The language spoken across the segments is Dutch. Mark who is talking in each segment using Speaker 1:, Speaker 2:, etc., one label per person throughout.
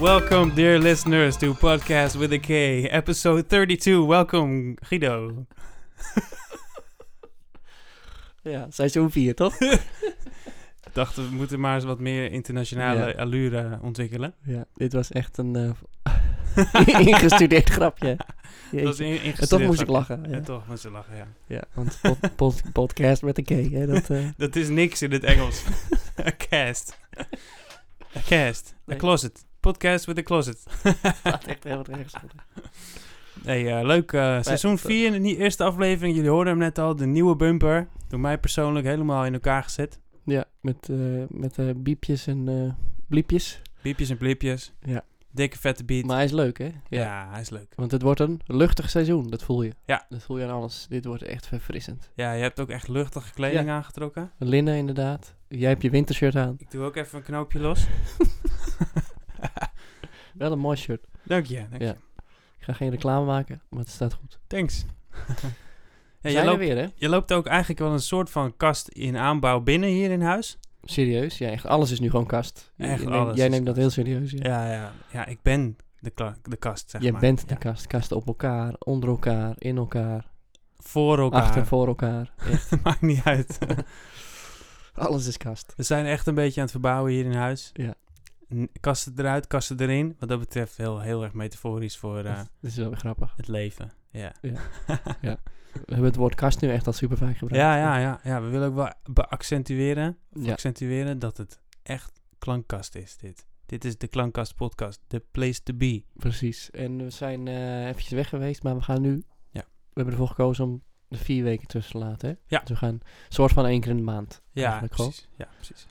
Speaker 1: Welcome, dear listeners, to Podcast with a K, episode 32. Welcome, Guido.
Speaker 2: Ja, seizoen 4, toch?
Speaker 1: Ik dacht, we moeten maar eens wat meer internationale
Speaker 2: Ja.
Speaker 1: allure ontwikkelen.
Speaker 2: ja, dit was echt een eh, ingestudeerd grapje. Jeetje.
Speaker 1: Dat is in,
Speaker 2: en
Speaker 1: ingestudeerd
Speaker 2: toch moest ik
Speaker 1: grapje.
Speaker 2: lachen. Ja,
Speaker 1: En toch moest ik lachen, ja.
Speaker 2: ja want pod- pod- podcast met een K, hè, dat... eh,
Speaker 1: Dat is niks in het Engels. a cast. A cast.
Speaker 2: Nee.
Speaker 1: A closet. Podcast with a closet.
Speaker 2: staat echt helemaal rechts.
Speaker 1: Nee, eh, leuk. eh, seizoen
Speaker 2: dat-
Speaker 1: 4 in die eerste aflevering. Jullie hoorden hem net al. De nieuwe bumper. Door mij persoonlijk helemaal in elkaar gezet.
Speaker 2: Ja, met, eh, met eh, biepjes en eh, bliepjes.
Speaker 1: Biepjes en blipjes.
Speaker 2: Ja.
Speaker 1: Dikke vette beat.
Speaker 2: Maar hij is leuk, hè? Ja.
Speaker 1: ja. hij is leuk.
Speaker 2: Want het wordt een luchtig seizoen, dat voel je.
Speaker 1: Ja.
Speaker 2: Dat voel je aan alles. Dit wordt echt verfrissend.
Speaker 1: Ja, je hebt ook echt luchtige kleding aangetrokken.
Speaker 2: Linnen inderdaad. Jij hebt je wintershirt aan.
Speaker 1: Ik doe ook even een knoopje los.
Speaker 2: Wel een mooi shirt.
Speaker 1: Dank je. Dank
Speaker 2: Ja.
Speaker 1: je.
Speaker 2: Ik ga geen reclame maken, maar het staat goed.
Speaker 1: Thanks. ja,
Speaker 2: Zijn
Speaker 1: je,
Speaker 2: er
Speaker 1: loopt,
Speaker 2: weer, hè?
Speaker 1: je loopt ook eigenlijk wel een soort van kast in aanbouw binnen hier in huis.
Speaker 2: Serieus? Ja, echt alles is nu gewoon kast. Je-
Speaker 1: Echt
Speaker 2: je
Speaker 1: alles
Speaker 2: neemt, jij
Speaker 1: is
Speaker 2: neemt dat heel serieus. Ja.
Speaker 1: Ja, ja, ja ik ben de, kla- de kast, zeg
Speaker 2: jij
Speaker 1: maar.
Speaker 2: bent de
Speaker 1: Ja.
Speaker 2: kast. Kasten op elkaar, onder elkaar, in elkaar,
Speaker 1: Voor elkaar.
Speaker 2: achter voor elkaar. Echt.
Speaker 1: Maakt niet uit.
Speaker 2: alles is kast.
Speaker 1: We zijn echt een beetje aan het verbouwen hier in huis.
Speaker 2: Ja.
Speaker 1: N- Kasten eruit, kasten erin. Wat dat betreft heel, heel erg metaforisch voor eh,
Speaker 2: Dat is wel weer grappig.
Speaker 1: het leven. Ja.
Speaker 2: Ja. We hebben het woord kast nu echt al super vaak gebruikt.
Speaker 1: ja, ja, ja, ja. We willen ook wel beaccentueren
Speaker 2: Ja.
Speaker 1: accentueren dat het echt klankkast is, dit. Dit is de Klankkast podcast, the place to be.
Speaker 2: Precies. En we zijn eh, eventjes weg geweest, maar we gaan nu...
Speaker 1: Ja.
Speaker 2: We hebben ervoor gekozen om de vier weken tussen te laten. Hè?
Speaker 1: Ja.
Speaker 2: Dus we gaan een soort van één keer in de maand.
Speaker 1: Ja,
Speaker 2: Eigenlijk gewoon.
Speaker 1: precies. Ja, precies.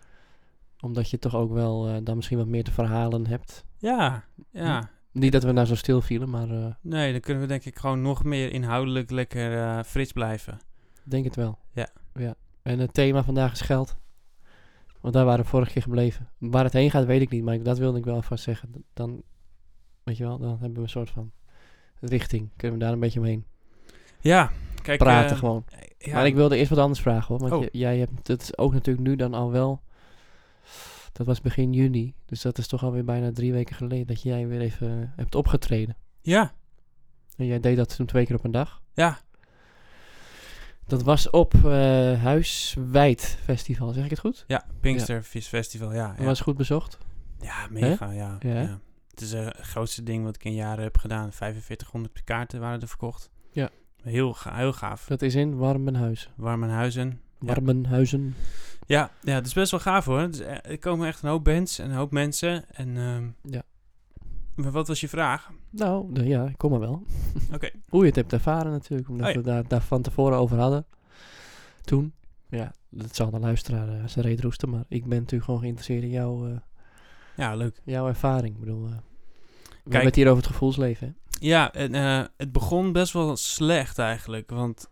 Speaker 2: Omdat je toch ook wel eh, dan misschien wat meer te verhalen hebt.
Speaker 1: Ja, ja.
Speaker 2: Niet dat we nou zo stil vielen, maar eh,
Speaker 1: Nee, dan kunnen we denk ik gewoon nog meer inhoudelijk lekker eh, frits blijven.
Speaker 2: Ik Denk het wel.
Speaker 1: Ja.
Speaker 2: ja. En het thema vandaag is geld. Want daar waren we vorige keer gebleven. Waar het heen gaat, weet ik niet. Maar ik- dat wilde ik wel vast zeggen. D- Dan, weet je wel, dan hebben we een soort van richting. Kunnen we daar een beetje omheen
Speaker 1: Ja, kijk.
Speaker 2: praten
Speaker 1: eh,
Speaker 2: gewoon.
Speaker 1: ja,
Speaker 2: Maar ik wilde eerst wat anders vragen hoor. Want
Speaker 1: Oh.
Speaker 2: je- jij hebt het ook natuurlijk nu dan al wel... Dat was begin juni. Dus dat is toch alweer bijna drie weken geleden dat jij weer even eh, hebt opgetreden.
Speaker 1: Ja,
Speaker 2: En jij deed dat toen twee keer op een dag.
Speaker 1: ja,
Speaker 2: Dat was op eh Huiswijd Festival, zeg ik het goed?
Speaker 1: ja. Pinkster Vis Festival, ja.
Speaker 2: Dat
Speaker 1: Ja,
Speaker 2: was goed bezocht.
Speaker 1: ja mega, ja,
Speaker 2: Ja.
Speaker 1: ja. Het is eh, het grootste ding wat ik in jaren heb gedaan. 4500 kaarten waren er verkocht.
Speaker 2: Ja.
Speaker 1: Heel, ga- heel gaaf.
Speaker 2: Dat is in Warmenhuizen.
Speaker 1: Warmenhuizen.
Speaker 2: Warmenhuizen.
Speaker 1: Ja, ja, het is best wel gaaf hoor. Het is, eh, Er komen echt een hoop bands en een hoop mensen. En, ehm,
Speaker 2: Ja.
Speaker 1: Maar wat was je vraag?
Speaker 2: Nou, de- ja, ik kom er wel.
Speaker 1: Oké.
Speaker 2: Hoe je het hebt ervaren natuurlijk, omdat
Speaker 1: Oh ja.
Speaker 2: we daar, daar van tevoren over hadden. Toen. Ja, dat zal de luisteraar eh, zijn reet roesten, maar ik ben natuurlijk gewoon geïnteresseerd in jouw, eh,
Speaker 1: Ja, leuk.
Speaker 2: jouw ervaring. Ik bedoel, eh, we
Speaker 1: Kijk.
Speaker 2: hebben het hier over het gevoelsleven, hè?
Speaker 1: Ja, en, eh, het begon best wel slecht eigenlijk. Want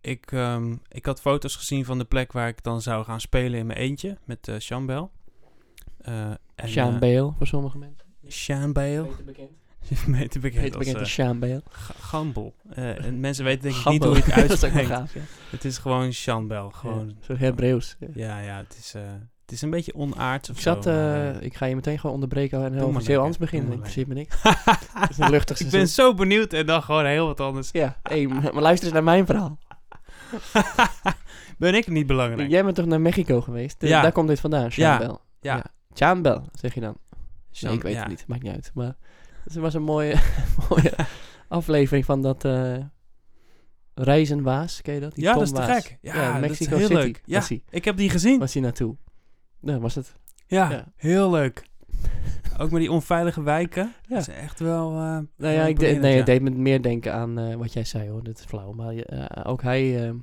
Speaker 1: ik, ehm, ik had foto's gezien van de plek waar ik dan zou gaan spelen in mijn eentje. Met eh Sean Bell. Eh, en,
Speaker 2: Sean
Speaker 1: eh,
Speaker 2: Bale, voor sommige mensen.
Speaker 1: Sean Bale.
Speaker 2: Beter bekend.
Speaker 1: Beter bekend
Speaker 2: Beter
Speaker 1: als
Speaker 2: bekend
Speaker 1: eh,
Speaker 2: als Sean Bale.
Speaker 1: G- Gambel. Eh, en mensen weten denk ik niet
Speaker 2: Gambel.
Speaker 1: hoe je het
Speaker 2: dat is ook wel
Speaker 1: uitspreekt.
Speaker 2: gaaf, ja.
Speaker 1: het is gewoon Sean Bell. Gewoon,
Speaker 2: Ja, Zo'n Hebreeuws. ja.
Speaker 1: Ja, ja, het is, eh, het is een beetje onaards of
Speaker 2: Ik zat,
Speaker 1: zo. maar,
Speaker 2: eh, ik ga je meteen gewoon onderbreken en over
Speaker 1: maar
Speaker 2: iets
Speaker 1: lekker,
Speaker 2: heel anders
Speaker 1: doe
Speaker 2: beginnen.
Speaker 1: maar
Speaker 2: In principe niks.
Speaker 1: eh.
Speaker 2: Het is een luchtig
Speaker 1: ik
Speaker 2: seizoen.
Speaker 1: ben zo benieuwd en dan gewoon heel wat anders.
Speaker 2: Ja, hey, maar maar luister eens naar mijn verhaal.
Speaker 1: ben ik niet belangrijk?
Speaker 2: Jij bent toch naar Mexico geweest? Dus
Speaker 1: Ja.
Speaker 2: Daar komt dit vandaan, Chambel.
Speaker 1: Ja.
Speaker 2: Chambel, zeg je dan.
Speaker 1: Sean-
Speaker 2: Nee, ik weet
Speaker 1: ja.
Speaker 2: het niet, maakt niet uit. Maar het was een mooie, mooie aflevering van dat eh Reizen Waas, ken je dat? Die
Speaker 1: Ja,
Speaker 2: Tom
Speaker 1: dat is te
Speaker 2: Waas.
Speaker 1: gek. Ja, dat is
Speaker 2: Mexico
Speaker 1: heel
Speaker 2: City
Speaker 1: leuk. Ja.
Speaker 2: was, hij,
Speaker 1: Ik heb die gezien.
Speaker 2: was hij naartoe. Nou, was het.
Speaker 1: Ja,
Speaker 2: Ja.
Speaker 1: heel leuk. Ook met die onveilige wijken.
Speaker 2: Ja.
Speaker 1: Dat is echt wel... eh,
Speaker 2: Nou
Speaker 1: wel
Speaker 2: ja, ik de-
Speaker 1: imponerend,
Speaker 2: nee,
Speaker 1: ja.
Speaker 2: het deed me meer denken aan eh, wat jij zei hoor, dit is flauw. Maar eh, ook hij eh,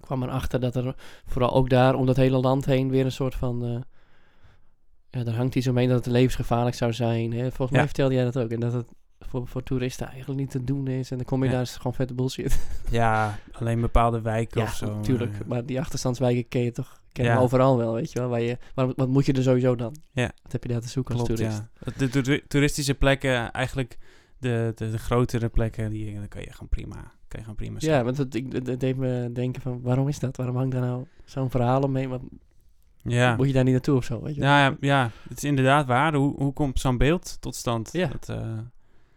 Speaker 2: kwam erachter dat er vooral ook daar om dat hele land heen weer een soort van... eh, ja, daar hangt iets omheen dat het levensgevaarlijk zou zijn. Hè? Volgens
Speaker 1: Ja.
Speaker 2: mij vertelde jij dat ook. En dat het voor, voor toeristen eigenlijk niet te doen is. En dan kom je
Speaker 1: Ja.
Speaker 2: daar is het gewoon vette bullshit.
Speaker 1: Ja, alleen bepaalde wijken
Speaker 2: ja,
Speaker 1: of zo. eh,
Speaker 2: natuurlijk.
Speaker 1: maar,
Speaker 2: Maar die achterstandswijken ken je toch ken je
Speaker 1: Ja.
Speaker 2: overal wel, weet je wel. Waar je, maar wat moet je er sowieso dan?
Speaker 1: Ja.
Speaker 2: Wat heb je daar te zoeken
Speaker 1: Klopt,
Speaker 2: als toerist?
Speaker 1: ja. De, toer- toeristische plekken, eigenlijk de, de, de grotere plekken, die dan kan je gewoon prima, kan je gewoon prima
Speaker 2: Ja, want het, ik, het- het deed me denken van, waarom is dat? Waarom hangt daar nou zo'n verhaal omheen? Want
Speaker 1: Ja.
Speaker 2: Moet je daar niet naartoe of zo, weet je wel?
Speaker 1: Ja, ja, Nou ja, het is inderdaad waar. Hoe, hoe komt zo'n beeld tot stand?
Speaker 2: Ja.
Speaker 1: Dat, eh,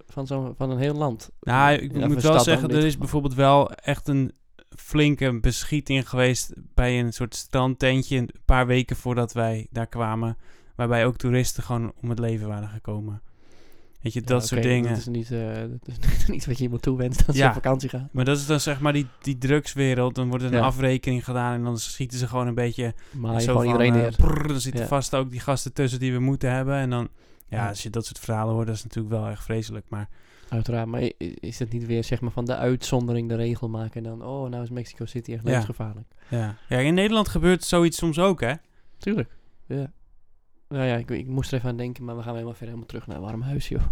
Speaker 2: Van, zo'n van een heel land.
Speaker 1: nou, ik
Speaker 2: Ja, of een
Speaker 1: moet
Speaker 2: stad
Speaker 1: wel
Speaker 2: dan Ah,
Speaker 1: zeggen,
Speaker 2: in
Speaker 1: er
Speaker 2: dit
Speaker 1: is
Speaker 2: geval.
Speaker 1: bijvoorbeeld wel echt een flinke beschieting geweest bij een soort strandtentje een paar weken voordat wij daar kwamen. Waarbij ook toeristen gewoon om het leven waren gekomen. Weet je,
Speaker 2: Ja,
Speaker 1: dat
Speaker 2: oké,
Speaker 1: soort dingen.
Speaker 2: Dat is niet, eh, dat is niet wat je iemand toewenst als je
Speaker 1: Ja.
Speaker 2: op vakantie gaat.
Speaker 1: Maar dat is dan zeg maar die, die drugswereld. Dan wordt er een
Speaker 2: Ja.
Speaker 1: afrekening gedaan en dan schieten ze gewoon een beetje
Speaker 2: Maar
Speaker 1: zo
Speaker 2: gewoon
Speaker 1: van,
Speaker 2: iedereen
Speaker 1: eh,
Speaker 2: neer.
Speaker 1: prrr, dan zitten
Speaker 2: Ja.
Speaker 1: vast ook die gasten tussen die we moeten hebben. En dan, ja,
Speaker 2: Ja.
Speaker 1: als je dat soort verhalen hoort, dat is natuurlijk wel echt vreselijk. Maar
Speaker 2: Uiteraard, maar i- i- is het niet weer zeg maar van de uitzondering de regel maken en dan, oh, nou is Mexico City echt
Speaker 1: Ja.
Speaker 2: levensgevaarlijk.
Speaker 1: ja. ja, in Nederland gebeurt zoiets soms ook, hè?
Speaker 2: Tuurlijk. Ja. Nou ja, ik, ik moest er even aan denken, maar we gaan weer helemaal, weer helemaal terug naar Warmhuis, joh. Nou,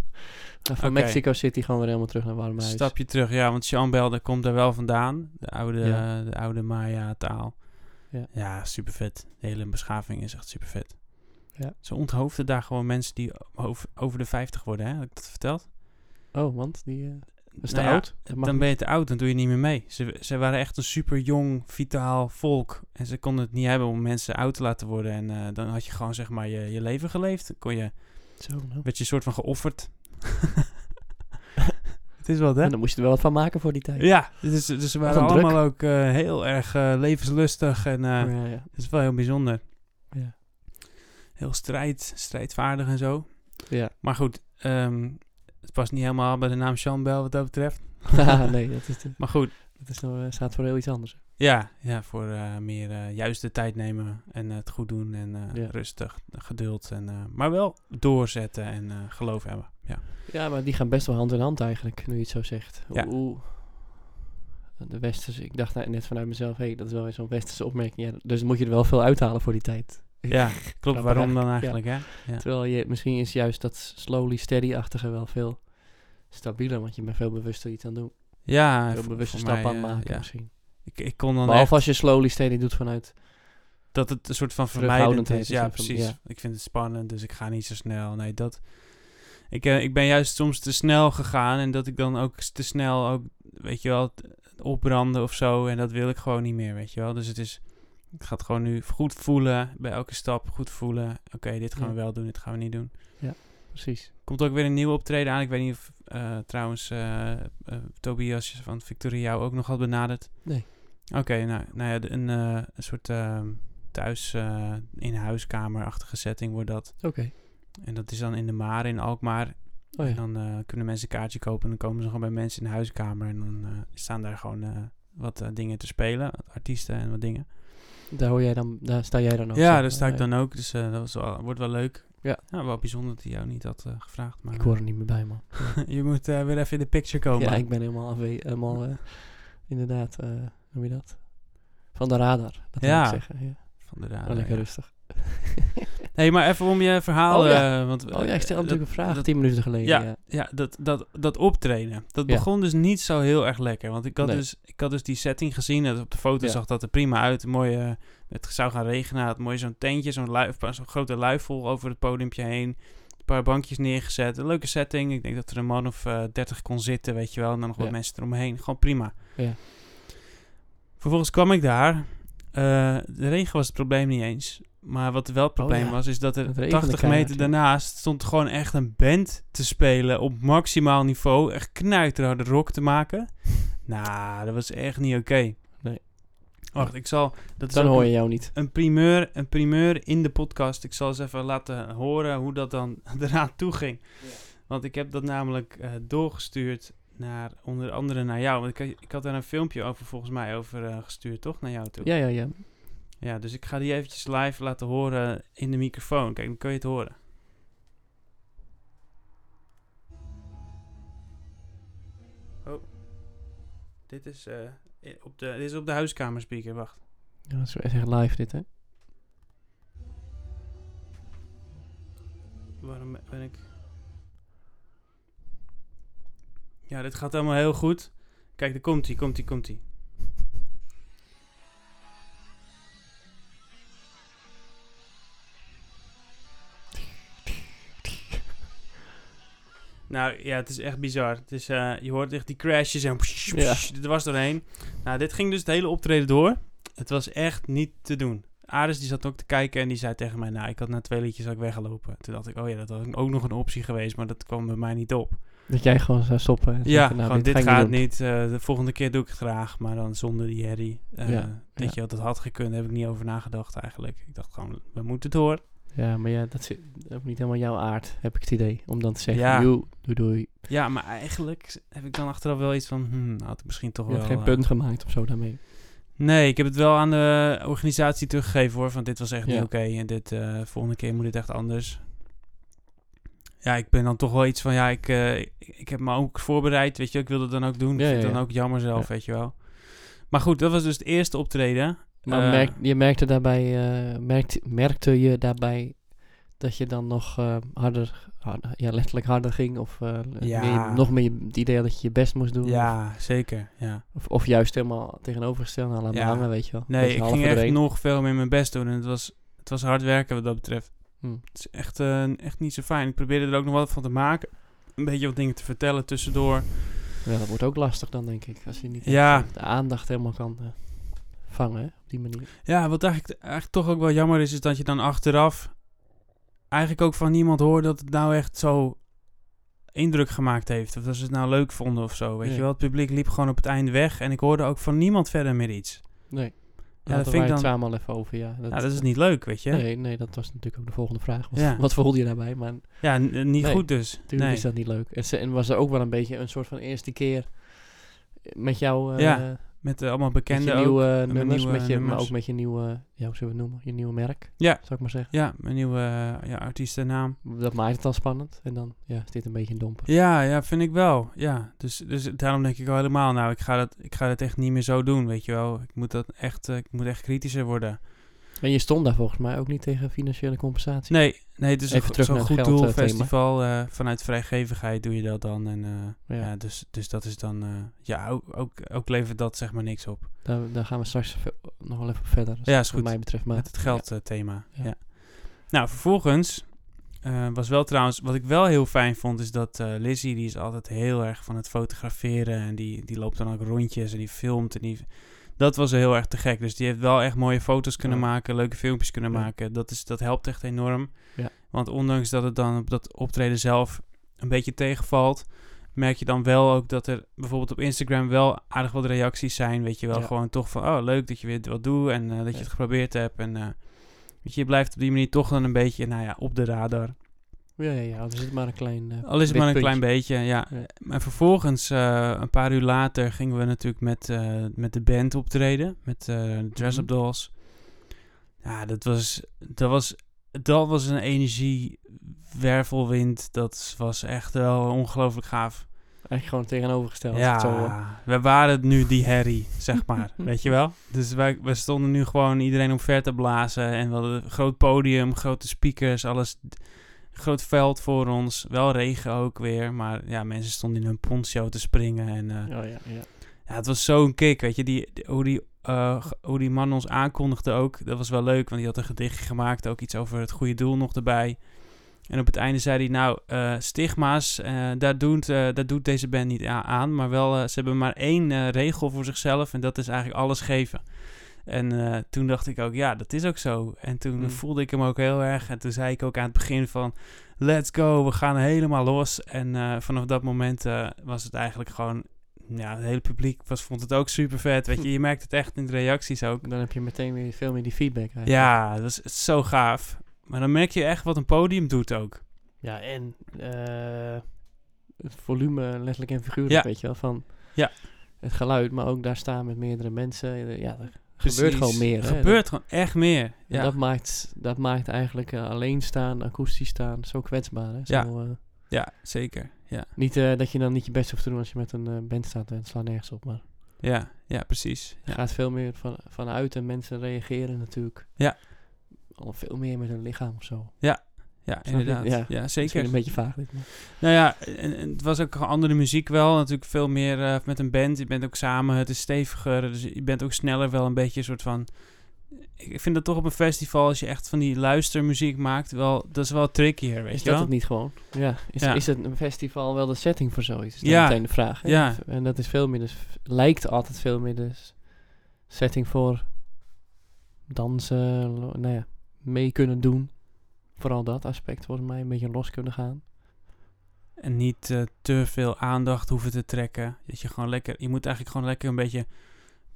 Speaker 2: van
Speaker 1: Oké.
Speaker 2: Mexico City gaan we weer helemaal terug naar Warmhuis.
Speaker 1: Stapje terug, ja, want Jean Bel, daar komt daar wel vandaan. De oude,
Speaker 2: Ja.
Speaker 1: de oude Maya-taal.
Speaker 2: Ja.
Speaker 1: super vet. De hele beschaving is echt super vet.
Speaker 2: Ja.
Speaker 1: Ze onthoofden daar gewoon mensen die over, over de 50 worden, hè? Heb ik dat verteld?
Speaker 2: Oh, want die eh, is te
Speaker 1: Nou ja,
Speaker 2: oud. Dat mag
Speaker 1: dan
Speaker 2: niet.
Speaker 1: ben je te oud, dan doe je niet meer mee. Ze, ze waren echt een super jong, vitaal volk. En ze konden het niet hebben om mensen oud te laten worden. En eh, dan had je gewoon zeg maar je, je leven geleefd. Dan Kon je,
Speaker 2: Zo, nou.
Speaker 1: werd je soort van geofferd. het is wat, hè?
Speaker 2: En dan moest je er wel wat van maken voor die tijd.
Speaker 1: Ja, dus, dus ze waren
Speaker 2: een druk. Oh
Speaker 1: allemaal ook eh, heel erg eh, levenslustig. En eh,
Speaker 2: ja, ja.
Speaker 1: dat is wel heel bijzonder.
Speaker 2: Ja.
Speaker 1: Heel strijd, strijdvaardig en zo.
Speaker 2: ja.
Speaker 1: Maar goed, ehm, het past niet helemaal bij de naam Jean Bel wat dat betreft.
Speaker 2: Haha, Ah, nee, dat, is, de-
Speaker 1: Maar goed,
Speaker 2: dat is nou, eh, staat voor heel iets anders.
Speaker 1: Ja, ja voor eh, meer eh, juist de tijd nemen en eh, het goed doen en eh,
Speaker 2: Ja.
Speaker 1: rustig, geduld. En, eh, maar wel doorzetten en eh, geloof hebben. Ja.
Speaker 2: Ja, maar die gaan best wel hand in hand eigenlijk, nu je het zo zegt.
Speaker 1: Ja.
Speaker 2: Hoe, de westerse, ik dacht nou net vanuit mezelf, hé, dat is wel weer zo'n westerse opmerking. Ja, dus moet je er wel veel uithalen voor die tijd.
Speaker 1: ja, klopt.
Speaker 2: Grappig
Speaker 1: Waarom dan eigenlijk, hè? Ja.
Speaker 2: Terwijl je, misschien is juist dat slowly steady-achtige wel veel stabieler, want je bent veel bewuster iets aan het doen.
Speaker 1: ja,
Speaker 2: veel
Speaker 1: voor-
Speaker 2: bewuster
Speaker 1: voor
Speaker 2: stap
Speaker 1: mij,
Speaker 2: aan
Speaker 1: eh,
Speaker 2: maken
Speaker 1: ja.
Speaker 2: misschien.
Speaker 1: Ik, ik kon dan
Speaker 2: Behalve
Speaker 1: echt
Speaker 2: als je slowly steady doet vanuit,
Speaker 1: dat het een soort van vermijdend
Speaker 2: Terughoudendheid
Speaker 1: is.
Speaker 2: is
Speaker 1: Ja,
Speaker 2: en van-
Speaker 1: precies.
Speaker 2: ja.
Speaker 1: Ik vind het spannend, dus ik ga niet zo snel. Nee, dat... Ik, eh, ik ben juist soms te snel gegaan en dat ik dan ook s- te snel ook, weet je wel, t- opbranden of zo. En dat wil ik gewoon niet meer, weet je wel. Dus het is, ik ga het gewoon nu goed voelen, bij elke stap goed voelen. Oké, dit gaan we
Speaker 2: Ja.
Speaker 1: wel doen, dit gaan we niet doen.
Speaker 2: precies.
Speaker 1: Komt ook weer een nieuw optreden aan. Ik weet niet of eh, trouwens eh, eh, Tobias van Victoria jou ook nog had benaderd.
Speaker 2: Nee.
Speaker 1: Oké, nou, nou ja, de- een, eh, een soort ehm, thuis eh, in huiskamerachtige setting wordt dat.
Speaker 2: Oké.
Speaker 1: En dat is dan in de Mare in Alkmaar.
Speaker 2: Oh
Speaker 1: En
Speaker 2: ja.
Speaker 1: dan eh, kunnen mensen een kaartje kopen en dan komen ze gewoon bij mensen in de huiskamer. En dan eh, staan daar gewoon eh, wat eh, dingen te spelen, artiesten en wat dingen.
Speaker 2: Daar, hoor jij dan, daar sta jij dan ook.
Speaker 1: ja,
Speaker 2: zeg
Speaker 1: daar sta
Speaker 2: maar.
Speaker 1: ik dan ook, dus eh, dat was wel, wordt wel leuk.
Speaker 2: Ja.
Speaker 1: Nou, wel bijzonder dat hij jou niet had eh, gevraagd, maar
Speaker 2: Ik hoor er niet meer bij, man.
Speaker 1: je moet eh, weer even in de picture komen.
Speaker 2: Ja, ik ben helemaal afwe- helemaal, eh, inderdaad, eh, hoe noem je dat? Van de radar, dat
Speaker 1: Ja.
Speaker 2: moet ik zeggen. Ja.
Speaker 1: Van de radar,
Speaker 2: Wel lekker
Speaker 1: ja.
Speaker 2: rustig.
Speaker 1: Nee, maar even om je verhaal.
Speaker 2: Oh ja.
Speaker 1: eh, want,
Speaker 2: Oh ja, ik stel
Speaker 1: dat,
Speaker 2: natuurlijk een vraag
Speaker 1: dat-
Speaker 2: tien minuten geleden.
Speaker 1: ja,
Speaker 2: Ja.
Speaker 1: ja. dat, dat, dat optreden. Dat
Speaker 2: Ja.
Speaker 1: begon dus niet zo heel erg lekker. Want ik had,
Speaker 2: Nee.
Speaker 1: dus, ik had dus die setting gezien. En op de foto
Speaker 2: Ja.
Speaker 1: zag dat er prima uit. Mooi, eh, het zou gaan regenen. Had mooi zo'n tentje, zo'n lui- zo'n grote luifel over het podiumpje heen. Een paar bankjes neergezet. Een leuke setting. Ik denk dat er een man of eh, dertig kon zitten, weet je wel. En dan nog wat
Speaker 2: Ja.
Speaker 1: mensen eromheen. Gewoon prima.
Speaker 2: Ja.
Speaker 1: Vervolgens kwam ik daar. Eh, de regen was het probleem niet eens. Maar wat wel het
Speaker 2: Oh,
Speaker 1: probleem
Speaker 2: ja.
Speaker 1: was, is dat
Speaker 2: Het
Speaker 1: er
Speaker 2: regende
Speaker 1: 80
Speaker 2: keihard,
Speaker 1: meter
Speaker 2: ja.
Speaker 1: daarnaast stond gewoon echt een band te spelen op maximaal niveau. Echt knijterharde rock te maken. Nou, dat was echt niet oké.
Speaker 2: Nee.
Speaker 1: Wacht, ik zal... Dat is
Speaker 2: Dan
Speaker 1: ook
Speaker 2: hoor
Speaker 1: een-
Speaker 2: je jou niet.
Speaker 1: Een primeur, een primeur in de podcast. Ik zal eens even laten horen hoe dat dan eraan toe ging. Want ik heb dat namelijk eh, doorgestuurd naar onder andere naar jou. Want ik, ik had daar een filmpje over volgens mij over eh, gestuurd, toch? Naar jou toe.
Speaker 2: Ja, ja, ja.
Speaker 1: Ja, dus ik ga die eventjes live laten horen in de microfoon. Kijk, dan kun je het horen. Oh. Dit is, eh, i- op, de, dit is op de huiskamerspeaker, wacht.
Speaker 2: ja dat is echt live dit, hè?
Speaker 1: Waarom ben ik... Ja, dit gaat allemaal heel goed. Kijk, daar komt hij, komt hij, komt hij. Nou ja, het is echt bizar. Het is, eh, je hoort echt die crashes en psh,
Speaker 2: Ja.
Speaker 1: psh, dit was doorheen. Nou, dit ging dus het hele optreden door. Het was echt niet te doen. Aris die zat ook te kijken en die zei tegen mij, nou, ik had na twee liedjes ook weggelopen. Toen dacht ik, oh ja, dat had ook nog een optie geweest, maar dat kwam bij mij niet op.
Speaker 2: Dat jij gewoon zou stoppen. en
Speaker 1: Ja,
Speaker 2: zeggen, nou,
Speaker 1: gewoon dit,
Speaker 2: ga ik
Speaker 1: gaat
Speaker 2: doen.
Speaker 1: niet. eh, de volgende keer doe ik het graag, maar dan zonder die herrie. Eh,
Speaker 2: Ja,
Speaker 1: weet
Speaker 2: ja.
Speaker 1: je, wel, dat had gekund, daar heb ik niet over nagedacht eigenlijk. Ik dacht gewoon, we moeten door.
Speaker 2: Ja, maar ja, dat is ook niet helemaal jouw aard, heb ik het idee. Om dan te zeggen,
Speaker 1: Ja.
Speaker 2: joe, doei doei.
Speaker 1: Ja, maar eigenlijk heb ik dan achteraf wel iets van, hmm, had ik misschien toch
Speaker 2: Je
Speaker 1: wel...
Speaker 2: hebt geen
Speaker 1: eh,
Speaker 2: punt gemaakt of zo daarmee.
Speaker 1: Nee, ik heb het wel aan de organisatie teruggegeven hoor. Van dit was echt
Speaker 2: Ja.
Speaker 1: niet oké en dit eh, volgende keer moet dit echt anders. Ja, ik ben dan toch wel iets van ja, ik, eh, ik- ik heb me ook voorbereid, weet je, ik wilde het dan ook doen.
Speaker 2: Ja,
Speaker 1: ik vind
Speaker 2: ja,
Speaker 1: het dan
Speaker 2: ja.
Speaker 1: ook jammer zelf, weet je wel. Maar goed, dat was dus het eerste optreden.
Speaker 2: Maar
Speaker 1: Eh,
Speaker 2: merk- je merkte, daarbij, eh, merkt, merkte je daarbij dat je dan nog eh, harder, harder- ja, letterlijk harder ging? Of eh,
Speaker 1: Ja.
Speaker 2: meer- nog meer het idee dat je je best moest doen?
Speaker 1: Ja, zeker. Ja.
Speaker 2: Of, of juist helemaal tegenovergesteld aan laten
Speaker 1: Ja.
Speaker 2: hangen, weet je wel? Dat
Speaker 1: Nee,
Speaker 2: is
Speaker 1: ik
Speaker 2: half
Speaker 1: ging echt
Speaker 2: verdwenen.
Speaker 1: nog veel meer mijn best doen. En het was, het was hard werken wat dat betreft.
Speaker 2: Hm.
Speaker 1: Het is echt, eh, echt niet zo fijn. Ik probeerde er ook nog wat van te maken. Een beetje wat dingen te vertellen tussendoor.
Speaker 2: Ja, dat wordt ook lastig dan, denk ik. Als je niet echt,
Speaker 1: Ja.
Speaker 2: eh, de aandacht helemaal kan eh, vangen, hè, op die manier.
Speaker 1: Ja, wat eigenlijk, eigenlijk toch ook wel jammer is, is dat je dan achteraf eigenlijk ook van niemand hoort dat het nou echt zo indruk gemaakt heeft. Of dat ze het nou leuk vonden of zo. Weet
Speaker 2: Nee.
Speaker 1: je wel, het publiek liep gewoon op het eind weg en ik hoorde ook van niemand verder meer iets.
Speaker 2: Nee.
Speaker 1: dat
Speaker 2: Ja, dat
Speaker 1: vind
Speaker 2: vind
Speaker 1: ik
Speaker 2: het
Speaker 1: dan-
Speaker 2: samen al even over, ja.
Speaker 1: Ja, dat is niet leuk, weet je.
Speaker 2: Nee, nee, dat was natuurlijk ook de volgende vraag. Wat,
Speaker 1: Ja.
Speaker 2: wat voelde je daarbij? Maar
Speaker 1: Ja, n- n- niet
Speaker 2: Nee.
Speaker 1: goed dus.
Speaker 2: natuurlijk
Speaker 1: nee.
Speaker 2: is dat niet leuk. En, ze- en was er ook wel een beetje een soort van eerste keer met jou... eh
Speaker 1: Ja,
Speaker 2: met
Speaker 1: Met eh, allemaal bekenden
Speaker 2: je
Speaker 1: ook.
Speaker 2: nieuwe
Speaker 1: met
Speaker 2: nummers,
Speaker 1: nieuwe
Speaker 2: met je, maar
Speaker 1: nummers.
Speaker 2: ook met je nieuwe, ja, hoe zullen we het noemen? Je nieuwe merk,
Speaker 1: Ja.
Speaker 2: zou ik maar zeggen.
Speaker 1: Ja, mijn nieuwe eh, ja, artiestennaam.
Speaker 2: Dat maakt het dan spannend. En dan ja, is dit een beetje een domper.
Speaker 1: Ja, ja, vind ik wel. Ja, dus, dus daarom denk ik al helemaal, nou, ik ga, dat, ik ga dat echt niet meer zo doen, weet je wel. Ik moet, dat echt, eh, ik moet echt kritischer worden.
Speaker 2: En je stond daar volgens mij ook niet tegen financiële compensatie.
Speaker 1: Nee, nee, het is een
Speaker 2: Even
Speaker 1: go-
Speaker 2: terug
Speaker 1: zo'n
Speaker 2: naar
Speaker 1: goed
Speaker 2: het geld,
Speaker 1: doel
Speaker 2: eh, thema.
Speaker 1: festival. eh, vanuit vrijgevigheid doe je dat dan. En, eh, ja.
Speaker 2: Ja.
Speaker 1: dus, dus dat is dan... eh, ja, ook, ook, ook levert dat zeg maar niks op.
Speaker 2: Daar, daar gaan we straks ve- nog wel even op verder. als
Speaker 1: Ja, is
Speaker 2: wat
Speaker 1: goed.
Speaker 2: mij betreft. Maar
Speaker 1: Met het geldthema. Ja.
Speaker 2: Ja.
Speaker 1: Nou, vervolgens eh, was wel trouwens... Wat ik wel heel fijn vond is dat eh Lizzie... die is altijd heel erg van het fotograferen. En die, die loopt dan ook rondjes en die filmt. En die, dat was heel erg te gek. Dus die heeft wel echt mooie foto's kunnen
Speaker 2: Ja.
Speaker 1: maken. Leuke filmpjes kunnen
Speaker 2: Ja.
Speaker 1: maken. Dat, is, dat helpt echt enorm.
Speaker 2: Ja.
Speaker 1: Want ondanks dat het dan op dat optreden zelf... een beetje tegenvalt... merk je dan wel ook dat er bijvoorbeeld op Instagram... wel aardig wat reacties zijn. Weet je wel,
Speaker 2: Ja.
Speaker 1: gewoon toch van... oh, leuk dat je weer wat doet en eh, dat je
Speaker 2: Ja.
Speaker 1: het geprobeerd hebt. En eh, weet je, je blijft op die manier toch dan een beetje... nou ja, op de radar.
Speaker 2: ja, ja, ja, er zit maar een klein... eh,
Speaker 1: Al is het maar een
Speaker 2: lichtpuntje.
Speaker 1: klein beetje, ja.
Speaker 2: Ja.
Speaker 1: Maar vervolgens, eh, een paar uur later, gingen we natuurlijk met, eh, met de band optreden. Met eh Dress Up
Speaker 2: Mhm.
Speaker 1: Dolls. Ja, dat was, dat was, dat was een energiewervelwind. Dat was echt wel ongelooflijk gaaf.
Speaker 2: Eigenlijk gewoon tegenovergesteld.
Speaker 1: ja,
Speaker 2: Zo, eh,
Speaker 1: we waren nu die herrie, zeg maar. Weet je wel? Dus wij, wij stonden nu gewoon iedereen omver te blazen. En we hadden een groot podium, grote speakers, alles. Groot veld voor ons. Wel regen ook weer. Maar ja, mensen stonden in hun poncho te springen. En eh,
Speaker 2: oh, ja, ja.
Speaker 1: ja, het was zo'n kick, weet je. Die, die- hoe, die, eh, g- hoe die man ons aankondigde ook. Dat was wel leuk, want die had een gedichtje gemaakt. Ook iets over het goede doel nog erbij. En op het einde zei hij, nou, eh, stigma's, eh, daar, doet, eh, daar doet deze band niet a- aan. Maar wel, eh, ze hebben maar één eh, regel voor zichzelf en dat is eigenlijk alles geven. En eh, toen dacht ik ook, ja, dat is ook zo. En toen
Speaker 2: Mm.
Speaker 1: voelde ik hem ook heel erg. En toen zei ik ook aan het begin van, let's go, we gaan helemaal los. En eh, vanaf dat moment eh, was het eigenlijk gewoon ja, het hele publiek was, vond het ook super vet. Weet je, je merkt het echt in de reacties ook.
Speaker 2: Dan heb je meteen weer veel meer die feedback eigenlijk.
Speaker 1: Ja, dat is, het is zo gaaf. Maar dan merk je echt wat een podium doet ook.
Speaker 2: Ja, en eh, het volume letterlijk en figuurlijk,
Speaker 1: Ja.
Speaker 2: weet je wel. Van
Speaker 1: Ja.
Speaker 2: het geluid, maar ook daar staan met meerdere mensen. eh, Ja, er
Speaker 1: Precies.
Speaker 2: gebeurt gewoon meer.
Speaker 1: Er
Speaker 2: hè.
Speaker 1: gebeurt gewoon echt meer.
Speaker 2: En
Speaker 1: Ja,
Speaker 2: dat, maakt, dat maakt eigenlijk eh, alleen staan, akoestisch staan, zo kwetsbaar. Hè? Zo,
Speaker 1: Ja.
Speaker 2: eh,
Speaker 1: ja zeker. Ja.
Speaker 2: niet eh, dat je dan niet je best hoeft te doen als je met een eh, band staat en het slaat nergens op. Maar
Speaker 1: Ja, ja, precies.
Speaker 2: er gaat veel meer van, vanuit en mensen reageren natuurlijk.
Speaker 1: Ja.
Speaker 2: Al veel meer met hun lichaam of zo.
Speaker 1: Ja,
Speaker 2: je?
Speaker 1: inderdaad. Ja,
Speaker 2: Ja. Misschien
Speaker 1: zeker.
Speaker 2: een beetje vaag dit, maar-
Speaker 1: Nou ja, en, en het was ook gewoon andere muziek wel. Natuurlijk veel meer eh, met een band. Je bent ook samen, het is steviger. Dus je bent ook sneller wel een beetje een soort van... Ik vind dat toch op een festival, als je echt van die luistermuziek maakt, wel, dat is wel trickier, weet
Speaker 2: Is
Speaker 1: je
Speaker 2: dat
Speaker 1: wel?
Speaker 2: het niet gewoon? Ja. Is,
Speaker 1: Ja.
Speaker 2: is het een festival wel de setting voor zoiets? Is dan
Speaker 1: Ja.
Speaker 2: meteen de vraag. hè?
Speaker 1: Ja.
Speaker 2: En dat is veel meer dus, lijkt altijd veel meer dus setting voor dansen, lo- nou ja, mee kunnen doen. Vooral dat aspect volgens mij, een beetje los kunnen gaan.
Speaker 1: En niet eh, te veel aandacht hoeven te trekken. Dat je gewoon lekker, je moet eigenlijk gewoon lekker een beetje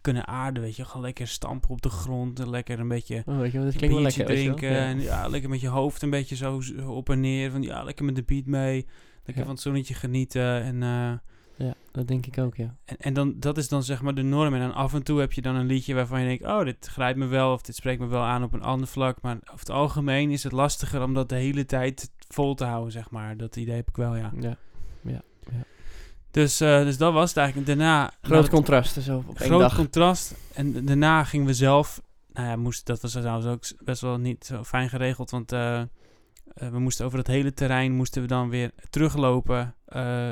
Speaker 1: kunnen aarden, weet je. Gewoon lekker stampen op de grond en lekker een beetje
Speaker 2: Oh, weet je, wel, dat
Speaker 1: een
Speaker 2: klinkt wel lekker. weet je wel.
Speaker 1: drinken. En ja, lekker met je hoofd een beetje zo z- op en neer. Van, ja, lekker met de beat mee. Lekker
Speaker 2: Ja.
Speaker 1: van het zonnetje genieten. En, eh,
Speaker 2: Ja. ja, dat denk ik ook, ja.
Speaker 1: en, en dan, dat is dan zeg maar de norm. En dan af en toe heb je dan een liedje waarvan je denkt... oh, dit grijpt me wel of dit spreekt me wel aan op een ander vlak. Maar over het algemeen is het lastiger om dat de hele tijd vol te houden, zeg maar. Dat idee heb ik wel, ja. Nou,
Speaker 2: ja.
Speaker 1: Dus, eh, dus dat was het eigenlijk. En Daarna...
Speaker 2: Groot
Speaker 1: nou,
Speaker 2: contrast, zo op één
Speaker 1: groot
Speaker 2: dag.
Speaker 1: contrast. En da- daarna gingen we zelf. Nou ja, moest, dat was trouwens ook s- best wel niet zo fijn geregeld. Want eh, eh, we moesten over het hele terrein moesten we dan weer teruglopen. Eh,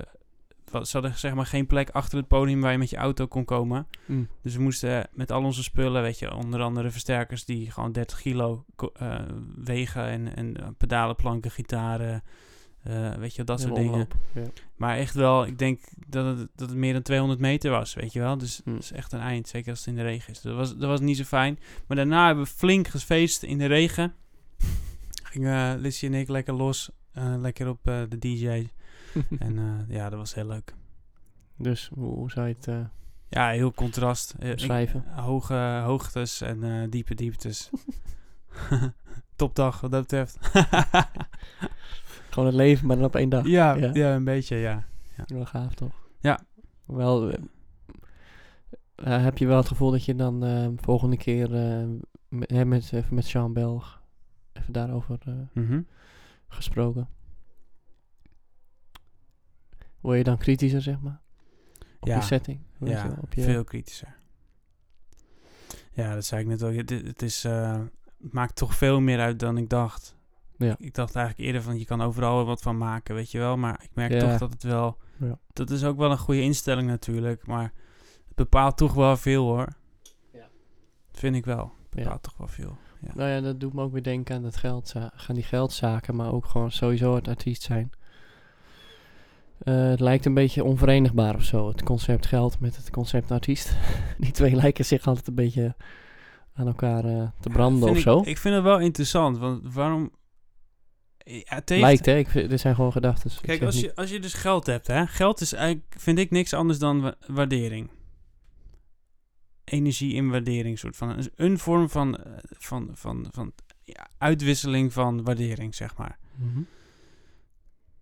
Speaker 1: wat- ze hadden zeg maar geen plek achter het podium waar je met je auto kon komen.
Speaker 2: Mm.
Speaker 1: Dus we moesten eh, met al onze spullen, weet je, onder andere versterkers die gewoon 30 kilo ko- eh, wegen en, en eh, pedalen, planken, gitaren, eh, weet je, dat soort
Speaker 2: Hele
Speaker 1: dingen.
Speaker 2: omloop, Ja.
Speaker 1: Maar echt wel, ik denk dat het, dat het meer dan 200 meter was, weet je wel. Dus
Speaker 2: Hmm.
Speaker 1: dat is echt een eind, zeker als het in de regen is. Dat was, dat was niet zo fijn. Maar daarna hebben we flink gefeest in de regen. Gingen eh Lissy en ik lekker los, eh, lekker op eh, de DJ. en eh, ja, dat was heel leuk.
Speaker 2: Dus hoe, hoe zou je het... eh,
Speaker 1: Ja, heel contrast. Eh, ik-
Speaker 2: Omschrijven.
Speaker 1: hoge hoogtes en eh, diepe dieptes. Topdag wat dat betreft.
Speaker 2: gewoon het leven, maar dan op één dag.
Speaker 1: ja,
Speaker 2: ja.
Speaker 1: ja. een beetje, ja.
Speaker 2: Wel gaaf, toch?
Speaker 1: Ja.
Speaker 2: Wel, eh, eh, heb je wel het gevoel dat je dan eh, volgende keer eh, met, hè, met, even met Jean Belg even daarover eh,
Speaker 1: Mhm.
Speaker 2: gesproken? Word je dan kritischer, zeg maar? Op
Speaker 1: Ja.
Speaker 2: je setting? weet
Speaker 1: Ja,
Speaker 2: je wel, op je,
Speaker 1: veel kritischer. Ja, dat zei ik net al. Het, het is, eh, het maakt toch veel meer uit dan ik dacht.
Speaker 2: Ja.
Speaker 1: Ik dacht eigenlijk eerder van je kan overal wel wat van maken, weet je wel. Maar ik merk
Speaker 2: Ja.
Speaker 1: toch dat het wel.
Speaker 2: Ja.
Speaker 1: Dat is ook wel een goede instelling natuurlijk. Maar het bepaalt toch wel veel hoor.
Speaker 2: Ja.
Speaker 1: Vind ik wel. Het
Speaker 2: Ja.
Speaker 1: bepaalt toch wel veel. Ja.
Speaker 2: Nou ja, dat doet me ook weer denken aan dat geld, gaan die geldzaken, maar ook gewoon sowieso het artiest zijn. Eh, het lijkt een beetje onverenigbaar of zo, het concept geld met het concept artiest. die twee lijken zich altijd een beetje aan elkaar eh, te branden
Speaker 1: Vind
Speaker 2: of
Speaker 1: ik,
Speaker 2: zo.
Speaker 1: Ik vind het wel interessant. Want waarom. Ja, het heeft-
Speaker 2: Lijkt, hè? Ik, vind- dit zijn gewoon gedachten.
Speaker 1: Kijk, als je, als je dus geld hebt, hè. Geld is eigenlijk, vind ik, niks anders dan wa- waardering. Energie in waardering, soort van. Een, een vorm van, eh, van, van, van ja, uitwisseling van waardering, zeg maar.
Speaker 2: Mhm.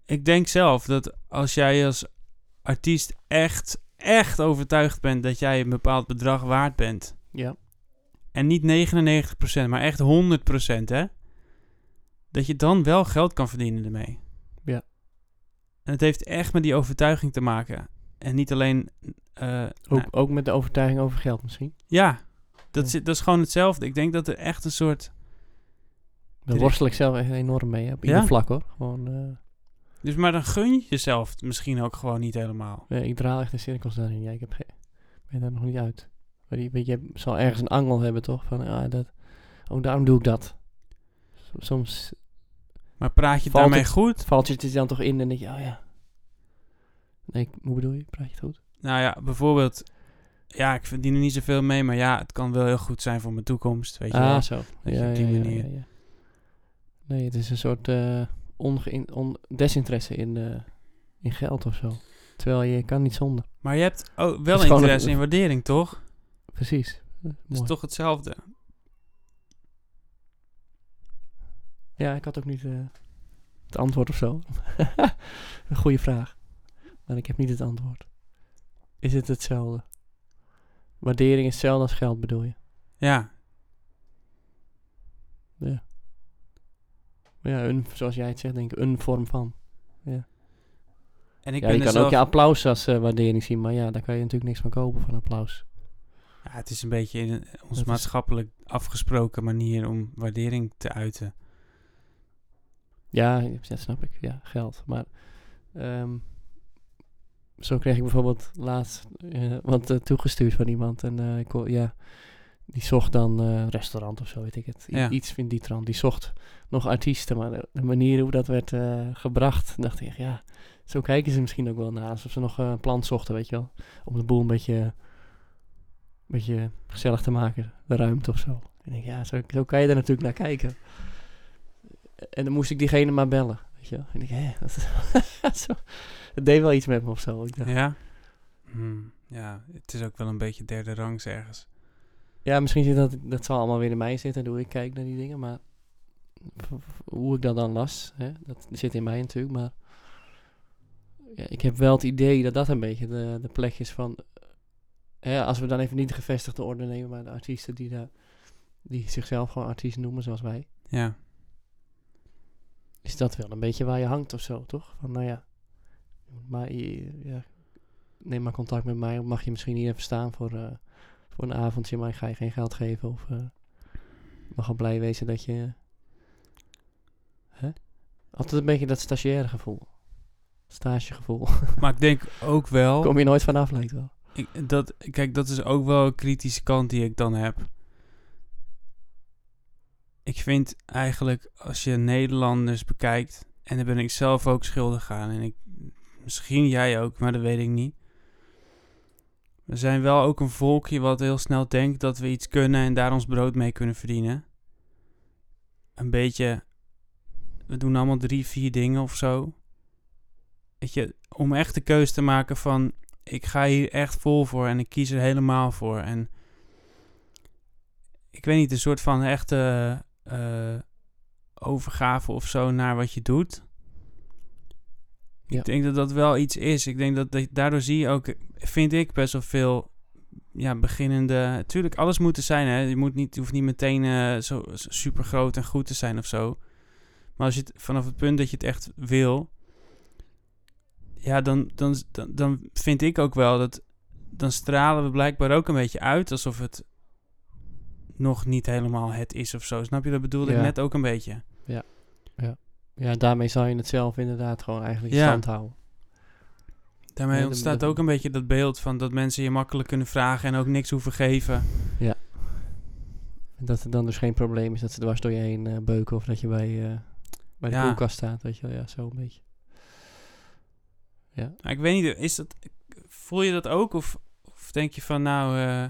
Speaker 1: Ik denk zelf dat als jij als artiest echt, echt overtuigd bent dat jij een bepaald bedrag waard bent.
Speaker 2: Ja.
Speaker 1: En niet 99%, maar echt 100%, hè. Dat je dan wel geld kan verdienen ermee.
Speaker 2: Ja.
Speaker 1: En het heeft echt met die overtuiging te maken. En niet alleen... eh,
Speaker 2: Ook,
Speaker 1: nou,
Speaker 2: ook met de overtuiging over geld misschien.
Speaker 1: ja, dat,
Speaker 2: Ja.
Speaker 1: Zit, dat is gewoon hetzelfde. Ik denk dat er echt een soort...
Speaker 2: Daar worstel ik zelf echt enorm mee, hè, op
Speaker 1: Ja?
Speaker 2: ieder vlak hoor. Gewoon, eh,
Speaker 1: Dus maar dan gun je jezelf misschien ook gewoon niet helemaal.
Speaker 2: nee, ik draal echt in cirkels daarin. Ja, ik heb ge- ben daar nog niet uit. Maar die, weet je, je zal ergens een angel hebben toch? Van, ah, dat, oh, daarom doe ik dat. S- Soms
Speaker 1: Maar praat je
Speaker 2: Valt
Speaker 1: daarmee
Speaker 2: het-
Speaker 1: goed?
Speaker 2: valt je het dan toch in en denk je, oh ja. Nee, ik- hoe bedoel je? Praat je het goed?
Speaker 1: Nou ja, bijvoorbeeld... Ja, ik verdien er niet zoveel mee, maar ja, het kan wel heel goed zijn voor mijn toekomst, weet je wel.
Speaker 2: ah, zo.
Speaker 1: je, op die manier.
Speaker 2: ja. Nee, het is een soort eh, ongeïn- on desinteresse in, eh, in geld of zo. Terwijl je kan niet zonder.
Speaker 1: Maar je hebt ook
Speaker 2: is
Speaker 1: wel
Speaker 2: gewoon
Speaker 1: interesse
Speaker 2: een-
Speaker 1: in waardering, toch? Het
Speaker 2: Precies. Eh,
Speaker 1: is
Speaker 2: mooi.
Speaker 1: toch hetzelfde?
Speaker 2: Ja, ik had ook niet eh, het antwoord of zo. een goede vraag. Maar ik heb niet het antwoord. Is het hetzelfde? Waardering is hetzelfde als geld, bedoel je?
Speaker 1: Ja,
Speaker 2: Maar Ja, een, zoals jij het zegt, denk ik, een vorm van.
Speaker 1: en ik
Speaker 2: ja,
Speaker 1: ben dus
Speaker 2: je
Speaker 1: er
Speaker 2: kan
Speaker 1: zelf...
Speaker 2: ook je applaus als eh, waardering zien, maar ja, daar kan je natuurlijk niks van kopen van applaus.
Speaker 1: Ja, het is een beetje in een- ons
Speaker 2: Dat is-
Speaker 1: maatschappelijk afgesproken manier om waardering te uiten.
Speaker 2: Ja, ja, dat snap ik. Ja, geld. Maar ehm, zo kreeg ik bijvoorbeeld laatst eh, wat eh, toegestuurd van iemand. En eh, ik hoor- ja, die zocht dan eh, restaurant of zo, weet ik het. I-
Speaker 1: Ja.
Speaker 2: Iets in die trant. Die zocht nog artiesten. Maar de, de manier hoe dat werd eh, gebracht, dacht ik, ja, zo kijken ze misschien ook wel naar. Alsof ze nog eh, een plan zochten, weet je wel. Om de boel een beetje, een beetje gezellig te maken. De ruimte of zo. Ik denk, ja, zo, zo kan je er natuurlijk naar kijken. En dan moest ik diegene maar bellen. Weet je wel. En ik denk, hé, dat, zo, het deed wel iets met me of zo. Ik dacht,
Speaker 1: Ja? Hm, ja, het is ook wel een beetje derde rangs ergens.
Speaker 2: Ja, misschien zit dat, dat zal allemaal weer in mij zitten, hoe ik kijk naar die dingen, maar v- v- hoe ik dat dan las, hè, dat zit in mij natuurlijk, maar ja, ik heb wel het idee dat dat een beetje de, de plek is van, hè, als we dan even niet de gevestigde orde nemen, maar de artiesten die, daar, die zichzelf gewoon artiest noemen, zoals wij,
Speaker 1: Ja.
Speaker 2: is dat wel een beetje waar je hangt of zo, toch? Van, nou ja, maar, je- ja neem maar contact met mij, mag je misschien hier even staan voor, eh, voor een avondje, maar ik ga je geen geld geven of eh, mag al blij wezen dat je... Hè? Altijd een beetje dat stagiaire gevoel. Stagegevoel.
Speaker 1: Maar ik denk ook wel...
Speaker 2: Kom je nooit vanaf, lijkt wel.
Speaker 1: Ik, dat, kijk, dat is ook wel een kritische kant die ik dan heb. Ik vind eigenlijk als je Nederlanders bekijkt, en daar ben ik zelf ook schuldig aan, en ik, misschien jij ook, maar dat weet ik niet. We zijn wel ook een volkje wat heel snel denkt dat we iets kunnen en daar ons brood mee kunnen verdienen. Een beetje, we doen allemaal drie, vier dingen of zo. Weet je, om echt de keuze te maken van ik ga hier echt vol voor en ik kies er helemaal voor. En ik weet niet, een soort van echte eh, overgave of zo naar wat je doet.
Speaker 2: Ja.
Speaker 1: Ik denk dat dat wel iets is. Ik denk dat, dat daardoor zie je ook, vind ik best wel veel ja, beginnende. Tuurlijk, alles moet er zijn. Hè? Je moet niet, je hoeft niet meteen eh, zo super groot en goed te zijn of zo. Maar als je het, vanaf het punt dat je het echt wil, ja, dan, dan, dan, dan vind ik ook wel dat. Dan stralen we blijkbaar ook een beetje uit alsof het nog niet helemaal het is of zo. Snap je? Dat bedoelde
Speaker 2: Ja.
Speaker 1: ik net ook een beetje.
Speaker 2: Ja, daarmee zou je het zelf inderdaad gewoon eigenlijk in
Speaker 1: Ja.
Speaker 2: stand houden.
Speaker 1: Daarmee
Speaker 2: Ja, dat-
Speaker 1: ontstaat
Speaker 2: dat-
Speaker 1: ook een beetje dat beeld van dat mensen je makkelijk kunnen vragen en ook niks hoeven geven.
Speaker 2: En dat het dan dus geen probleem is dat ze dwars door je heen eh, beuken of dat je bij, eh, bij de
Speaker 1: Ja.
Speaker 2: koelkast staat, weet je wel. Ja, zo een beetje.
Speaker 1: Maar ik weet niet, is dat, voel je dat ook? Of, of denk je van nou, eh,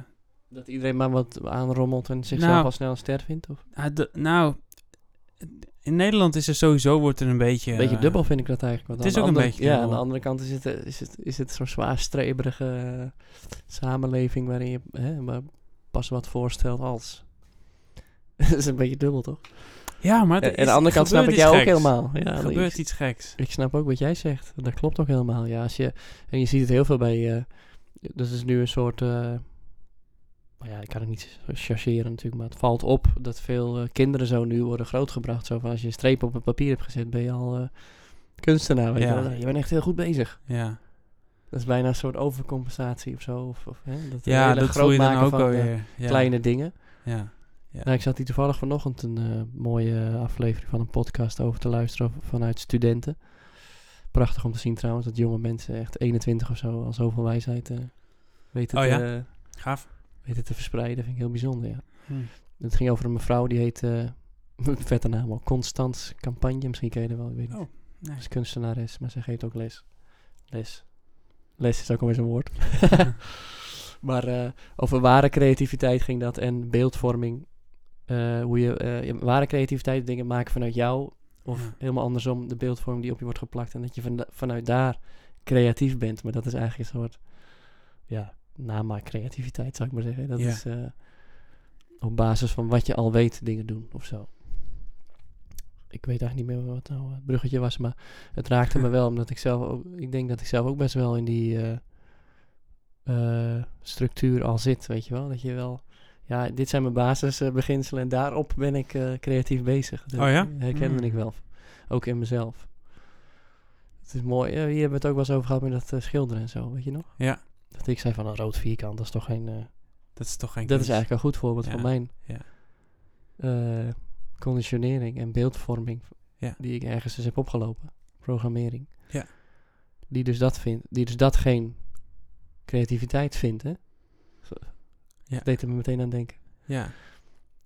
Speaker 2: Dat iedereen maar wat aanrommelt en zichzelf
Speaker 1: Nou.
Speaker 2: al snel een ster vindt? Of?
Speaker 1: ah, d- nou, in Nederland is er sowieso, wordt er een beetje...
Speaker 2: Een beetje
Speaker 1: eh,
Speaker 2: dubbel vind ik dat eigenlijk. Want
Speaker 1: het is
Speaker 2: aan de
Speaker 1: ook een
Speaker 2: andere-
Speaker 1: beetje
Speaker 2: Ja, aan de
Speaker 1: dubbel.
Speaker 2: andere kant is het, eh, is het, is het zo'n zwaar streberige eh, samenleving waarin je hè, maar pas wat voorstelt als. dat is een beetje dubbel, toch?
Speaker 1: Ja, maar
Speaker 2: En
Speaker 1: er
Speaker 2: aan
Speaker 1: is-
Speaker 2: de andere kant snap ik
Speaker 1: gebeurt
Speaker 2: jou
Speaker 1: iets
Speaker 2: ook
Speaker 1: geks.
Speaker 2: helemaal. Ja,
Speaker 1: Er
Speaker 2: dat
Speaker 1: gebeurt
Speaker 2: ik-
Speaker 1: iets geks.
Speaker 2: Ik snap ook wat jij zegt. Dat klopt ook helemaal. Ja, als je, en je ziet het heel veel bij. eh, dat is nu een soort. eh, maar ja, ik kan het niet zo chargeren natuurlijk. Maar het valt op dat veel eh, kinderen zo nu worden grootgebracht. Zo van als je een streep op het papier hebt gezet, ben je al eh, kunstenaar. Weet
Speaker 1: Ja.
Speaker 2: je, wel. je bent echt heel goed bezig.
Speaker 1: Ja,
Speaker 2: Dat is bijna een soort overcompensatie of zo. Of, of, hè, dat
Speaker 1: ja
Speaker 2: hele
Speaker 1: dat
Speaker 2: groot
Speaker 1: voel je dan
Speaker 2: maken
Speaker 1: ook
Speaker 2: van eh,
Speaker 1: alweer. Ja.
Speaker 2: kleine dingen.
Speaker 1: Ja.
Speaker 2: Nou, ik zat hier toevallig vanochtend een eh, mooie aflevering van een podcast over te luisteren v- vanuit studenten. Prachtig om te zien trouwens, dat jonge mensen, echt 21 of zo, al zoveel wijsheid eh, weten,
Speaker 1: Oh
Speaker 2: te,
Speaker 1: ja?
Speaker 2: eh,
Speaker 1: Gaaf.
Speaker 2: weten te verspreiden. Vind ik heel bijzonder, ja.
Speaker 1: Hm.
Speaker 2: Het ging over een mevrouw, die heet, eh vette naam ook, Constans Campagne. Misschien ken je haar wel, ik weet niet.
Speaker 1: Oh, nee.
Speaker 2: Ze is kunstenares, maar ze geeft ook les. Les. Les is ook alweer zo'n woord. maar eh, over ware creativiteit ging dat en beeldvorming. Eh, hoe je eh, je- ware creativiteit, dingen maken vanuit jou. Of
Speaker 1: Ja.
Speaker 2: helemaal andersom, de beeldvorming die op je wordt geplakt. En dat je van- vanuit daar creatief bent. Maar dat is eigenlijk een soort, ja, namaak creativiteit zou ik maar zeggen. Dat
Speaker 1: Ja.
Speaker 2: is eh, op basis van wat je al weet dingen doen of zo. Ik weet eigenlijk niet meer wat nou eh, het bruggetje was, maar het raakte me wel. Omdat ik zelf ook, ik denk dat ik zelf ook best wel in die eh, eh, structuur al zit, weet je wel. Dat je wel, ja, dit zijn mijn basisbeginselen en daarop ben ik eh, creatief bezig. Dat
Speaker 1: Oh ja?
Speaker 2: herkende
Speaker 1: Mm.
Speaker 2: ik wel. Ook in mezelf. Het is mooi. eh, hier hebben we het ook wel eens over gehad met dat eh, schilderen en zo, weet je nog?
Speaker 1: Ja.
Speaker 2: Dat ik zei van een rood vierkant, dat is toch geen... eh,
Speaker 1: Dat is toch geen
Speaker 2: dat is
Speaker 1: kunst?
Speaker 2: eigenlijk een goed voorbeeld van
Speaker 1: Ja,
Speaker 2: mijn
Speaker 1: ja.
Speaker 2: eh, conditionering en beeldvorming
Speaker 1: Ja.
Speaker 2: die ik ergens dus heb opgelopen. Programmering.
Speaker 1: Ja.
Speaker 2: Die dus dat vindt, die dus dat geen creativiteit vindt, hè? Zo-
Speaker 1: Ja.
Speaker 2: Dat deed er me meteen aan denken.
Speaker 1: Ja.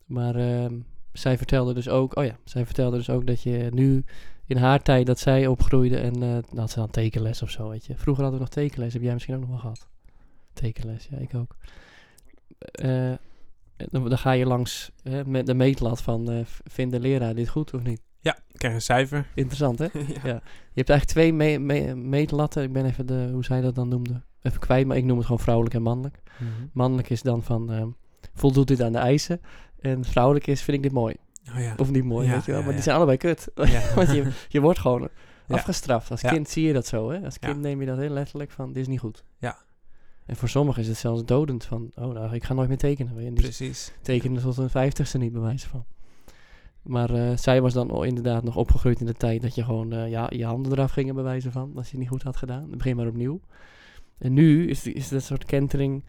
Speaker 2: Maar ehm, zij vertelde dus ook, oh ja, zij vertelde dus ook dat je nu in haar tijd dat zij opgroeide en eh dan had ze dan tekenles of zo, weet je. Vroeger hadden we nog tekenles, heb jij misschien ook nog wel gehad. Tekenles, ja, ik ook. Eh, eh, Dan, dan ga je langs hè, met de meetlat van, eh, v- vindt de leraar dit goed of niet?
Speaker 1: Ja, ik krijg een cijfer.
Speaker 2: Interessant, hè?
Speaker 1: ja.
Speaker 2: Ja. Je hebt eigenlijk twee me- me- meetlatten. Ik ben even de, hoe zij dat dan noemde, even kwijt. Maar ik noem het gewoon vrouwelijk en mannelijk.
Speaker 1: Mhm.
Speaker 2: Mannelijk is dan van, ehm, voldoet dit aan de eisen? En vrouwelijk is, vind ik dit mooi.
Speaker 1: Oh ja.
Speaker 2: Of niet mooi,
Speaker 1: Ja,
Speaker 2: weet je wel.
Speaker 1: ja,
Speaker 2: Maar die
Speaker 1: ja.
Speaker 2: zijn allebei kut.
Speaker 1: Ja.
Speaker 2: Want je, je wordt gewoon
Speaker 1: Ja.
Speaker 2: afgestraft. Als
Speaker 1: Ja.
Speaker 2: kind zie je dat zo, hè. Als
Speaker 1: Ja.
Speaker 2: kind neem je dat heel letterlijk van, dit is niet goed.
Speaker 1: Ja.
Speaker 2: En voor sommigen is het zelfs dodend van, oh nou, ik ga nooit meer tekenen. weet je. En die
Speaker 1: Precies.
Speaker 2: tekenen tot hun vijftigste niet, bij wijze van. Maar eh, zij was dan al inderdaad nog opgegroeid in de tijd dat je gewoon eh, ja, je handen eraf gingen, bij wijze van. Als je het niet goed had gedaan. Dan begin maar opnieuw. En nu is, is dat soort kentering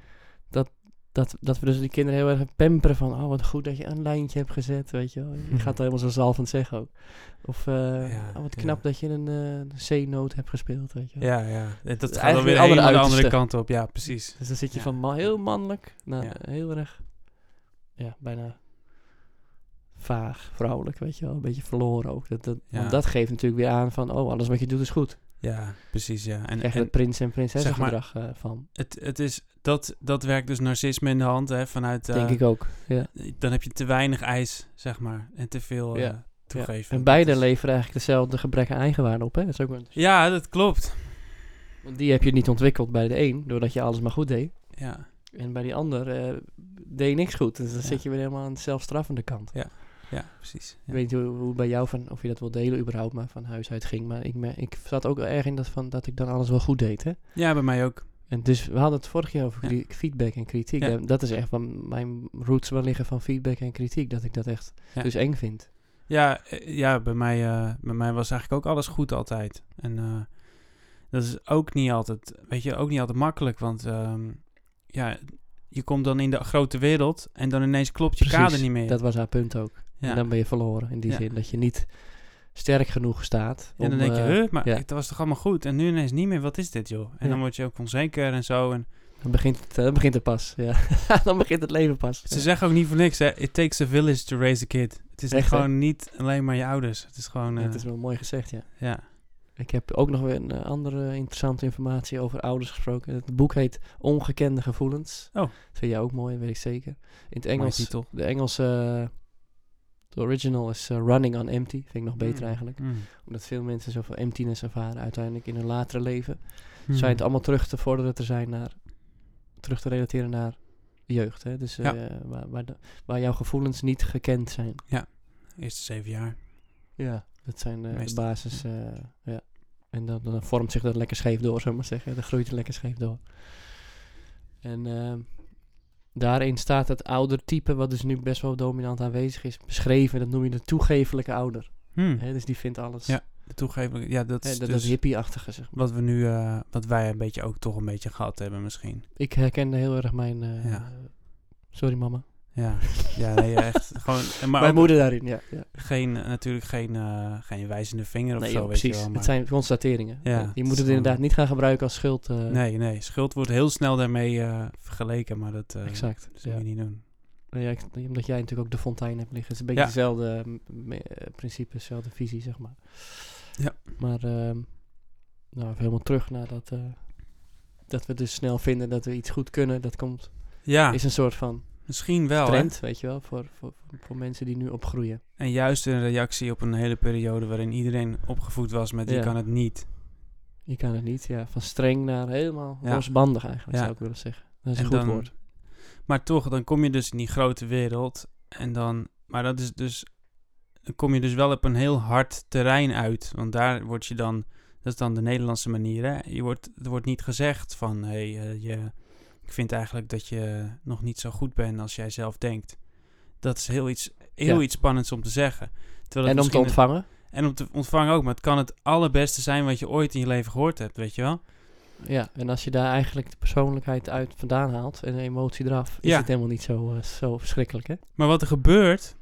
Speaker 2: dat, dat, dat we dus die kinderen heel erg pamperen van... Oh, wat goed dat je een lijntje hebt gezet, weet je wel. Je
Speaker 1: Mhm.
Speaker 2: gaat er helemaal zo zalvend zeggen ook. Of eh,
Speaker 1: Ja,
Speaker 2: oh, wat
Speaker 1: ja.
Speaker 2: knap dat je een eh, C-noot hebt gespeeld, weet je wel.
Speaker 1: Ja, ja. Eh, Dat gaat dan
Speaker 2: Dus eigenlijk
Speaker 1: weer
Speaker 2: de andere
Speaker 1: helemaal de andere
Speaker 2: uiterste.
Speaker 1: kant op. Ja, precies.
Speaker 2: Dus dan zit je
Speaker 1: Ja.
Speaker 2: van ma- heel mannelijk naar
Speaker 1: Ja.
Speaker 2: heel erg, ja, bijna vaag, vrouwelijk, weet je wel. Een beetje verloren ook. Dat, dat,
Speaker 1: Ja.
Speaker 2: Want dat geeft natuurlijk weer aan van, oh, alles wat je doet is goed.
Speaker 1: Ja, precies, ja. En,
Speaker 2: Krijg je
Speaker 1: en-
Speaker 2: het prins- en
Speaker 1: zeg maar-
Speaker 2: prinsessengedrag eh, van,
Speaker 1: Het, het is, dat, dat werkt dus narcisme in de hand, hè, vanuit... eh,
Speaker 2: denk ik ook. Ja.
Speaker 1: Dan heb je te weinig eis, zeg maar, en te veel eh,
Speaker 2: Ja,
Speaker 1: toegeven.
Speaker 2: En beide
Speaker 1: Dat is-
Speaker 2: leveren eigenlijk dezelfde gebrek aan eigenwaarde op, hè. Dat is ook, een-
Speaker 1: Ja, dat klopt.
Speaker 2: want die heb je niet ontwikkeld bij de een, doordat je alles maar goed deed.
Speaker 1: Ja,
Speaker 2: En bij die ander eh, deed je niks goed. Dus dan
Speaker 1: Ja.
Speaker 2: zit je weer helemaal aan de zelfstraffende kant.
Speaker 1: ja precies.
Speaker 2: Ik
Speaker 1: Ja.
Speaker 2: weet niet hoe, hoe bij jou, van, of je dat wil delen überhaupt, maar van huis uit ging. Maar ik, me- ik zat ook wel erg in dat, van, dat ik dan alles wel goed deed, hè.
Speaker 1: ja, bij mij ook.
Speaker 2: En dus we hadden het vorig jaar over
Speaker 1: Ja.
Speaker 2: kri- feedback en kritiek.
Speaker 1: Ja.
Speaker 2: En Dat is echt waar mijn roots wel liggen van feedback en kritiek. Dat ik dat echt
Speaker 1: Ja.
Speaker 2: dus eng vind.
Speaker 1: Ja, eh, ja bij, mij, eh, bij mij was eigenlijk ook alles goed altijd. En eh, dat is ook niet altijd, weet je, ook niet altijd makkelijk. Want ehm, ja, je komt dan in de grote wereld en dan ineens klopt je kader niet meer.
Speaker 2: Dat was haar punt ook.
Speaker 1: ja.
Speaker 2: En dan ben je verloren. In die
Speaker 1: Ja.
Speaker 2: zin dat je niet sterk genoeg staat.
Speaker 1: En dan
Speaker 2: om,
Speaker 1: denk je,
Speaker 2: eh,
Speaker 1: huh, maar
Speaker 2: ja.
Speaker 1: het was toch allemaal goed? En nu ineens niet meer, wat is dit joh? En
Speaker 2: Ja.
Speaker 1: dan word je ook onzeker en zo. En
Speaker 2: dan, begint het, eh, dan begint het pas. Ja. dan begint het leven pas.
Speaker 1: ze
Speaker 2: Ja.
Speaker 1: zeggen ook niet voor niks, hè. It takes a village to raise a kid. Het is
Speaker 2: Echt, hè?
Speaker 1: gewoon niet alleen maar je ouders. Het is gewoon,
Speaker 2: Ja,
Speaker 1: eh,
Speaker 2: Het is wel mooi gezegd, ja.
Speaker 1: ja.
Speaker 2: Ik heb ook nog weer een eh, andere interessante informatie over ouders gesproken. Het boek heet Ongekende Gevoelens.
Speaker 1: Oh.
Speaker 2: Dat vind jij ook mooi, weet ik zeker. In het
Speaker 1: Mooie
Speaker 2: Engels,
Speaker 1: titel.
Speaker 2: de Engelse, eh, de original is eh, Running on Empty. Vind ik nog beter
Speaker 1: Mm.
Speaker 2: eigenlijk.
Speaker 1: Mm.
Speaker 2: Omdat veel mensen zoveel emptiness ervaren uiteindelijk in hun latere leven.
Speaker 1: Mm.
Speaker 2: Zijn het allemaal terug te vorderen te zijn naar, terug te relateren naar jeugd. Hè? Dus eh, waar, waar, de- waar jouw gevoelens niet gekend zijn.
Speaker 1: Eerste zeven jaar.
Speaker 2: Ja, dat zijn de, de
Speaker 1: Meestal.
Speaker 2: basis. eh, ja. En dan, dan vormt zich dat lekker scheef door, zou ik maar zeggen. Dan groeit het lekker scheef door. En ehm, daarin staat het oudertype, wat dus nu best wel dominant aanwezig is, beschreven. Dat noem je de toegefelijke ouder.
Speaker 1: Mm.
Speaker 2: Hè, dus die vindt alles.
Speaker 1: Ja, De toegeving, ja, dat
Speaker 2: Hè,
Speaker 1: is
Speaker 2: dat, dat
Speaker 1: dus
Speaker 2: hippie-achtige, zeg maar.
Speaker 1: wat we nu, eh, wat wij een beetje ook toch een beetje gehad hebben misschien.
Speaker 2: Ik herkende heel erg mijn... eh,
Speaker 1: Ja.
Speaker 2: Sorry, mama.
Speaker 1: Ja, ja nee, echt. Gewoon, en maar
Speaker 2: mijn
Speaker 1: ook
Speaker 2: moeder daarin, ja. ja.
Speaker 1: geen, natuurlijk geen, eh, geen wijzende vinger of
Speaker 2: Nee,
Speaker 1: zo,
Speaker 2: joh,
Speaker 1: weet je
Speaker 2: precies.
Speaker 1: wel.
Speaker 2: Het
Speaker 1: Maar,
Speaker 2: zijn constateringen.
Speaker 1: Ja, het
Speaker 2: je
Speaker 1: is
Speaker 2: moet het
Speaker 1: gewoon-
Speaker 2: inderdaad niet gaan gebruiken als schuld. eh,
Speaker 1: Nee, nee. Schuld wordt heel snel daarmee eh, vergeleken, maar dat, eh,
Speaker 2: Exact.
Speaker 1: dat
Speaker 2: ja.
Speaker 1: moet je niet doen.
Speaker 2: Nou Ja, ik, omdat jij natuurlijk ook de fontein hebt liggen. Het is een beetje
Speaker 1: Ja.
Speaker 2: dezelfde mm, eh, principe, dezelfde visie, zeg maar.
Speaker 1: Ja.
Speaker 2: Maar, ehm, nou, even helemaal terug naar dat... eh, dat we dus snel vinden dat we iets goed kunnen. Dat komt,
Speaker 1: Ja,
Speaker 2: is een soort van
Speaker 1: misschien wel. Ah. Oh, hè.
Speaker 2: trend, weet je wel, voor, voor, voor mensen die nu opgroeien.
Speaker 1: En juist een reactie op een hele periode waarin iedereen opgevoed was met je
Speaker 2: Ja.
Speaker 1: kan het niet.
Speaker 2: Je kan het niet, ja. Van streng naar helemaal
Speaker 1: Ja.
Speaker 2: losbandig eigenlijk,
Speaker 1: Ja.
Speaker 2: zou ik willen zeggen. Dat is een
Speaker 1: En
Speaker 2: goed
Speaker 1: dan-
Speaker 2: woord.
Speaker 1: Maar toch, dan kom je dus in die grote wereld. En dan, maar dat is dus, dan kom je dus wel op een heel hard terrein uit. Want daar word je dan, dat is dan de Nederlandse manier. Hè? Je wordt, er wordt niet gezegd van, hé, hey, eh, je, ik vind eigenlijk dat je nog niet zo goed bent als jij zelf denkt. Dat is heel iets, heel
Speaker 2: Ja.
Speaker 1: iets spannends om te zeggen. Terwijl het
Speaker 2: En om te
Speaker 1: misschien-
Speaker 2: ontvangen.
Speaker 1: En om te ontvangen ook. Maar het kan het allerbeste zijn wat je ooit in je leven gehoord hebt, weet je wel?
Speaker 2: Ja, en als je daar eigenlijk de persoonlijkheid uit vandaan haalt en de emotie eraf, is
Speaker 1: Ja.
Speaker 2: het helemaal niet zo, eh, zo verschrikkelijk, hè?
Speaker 1: Maar wat er gebeurt,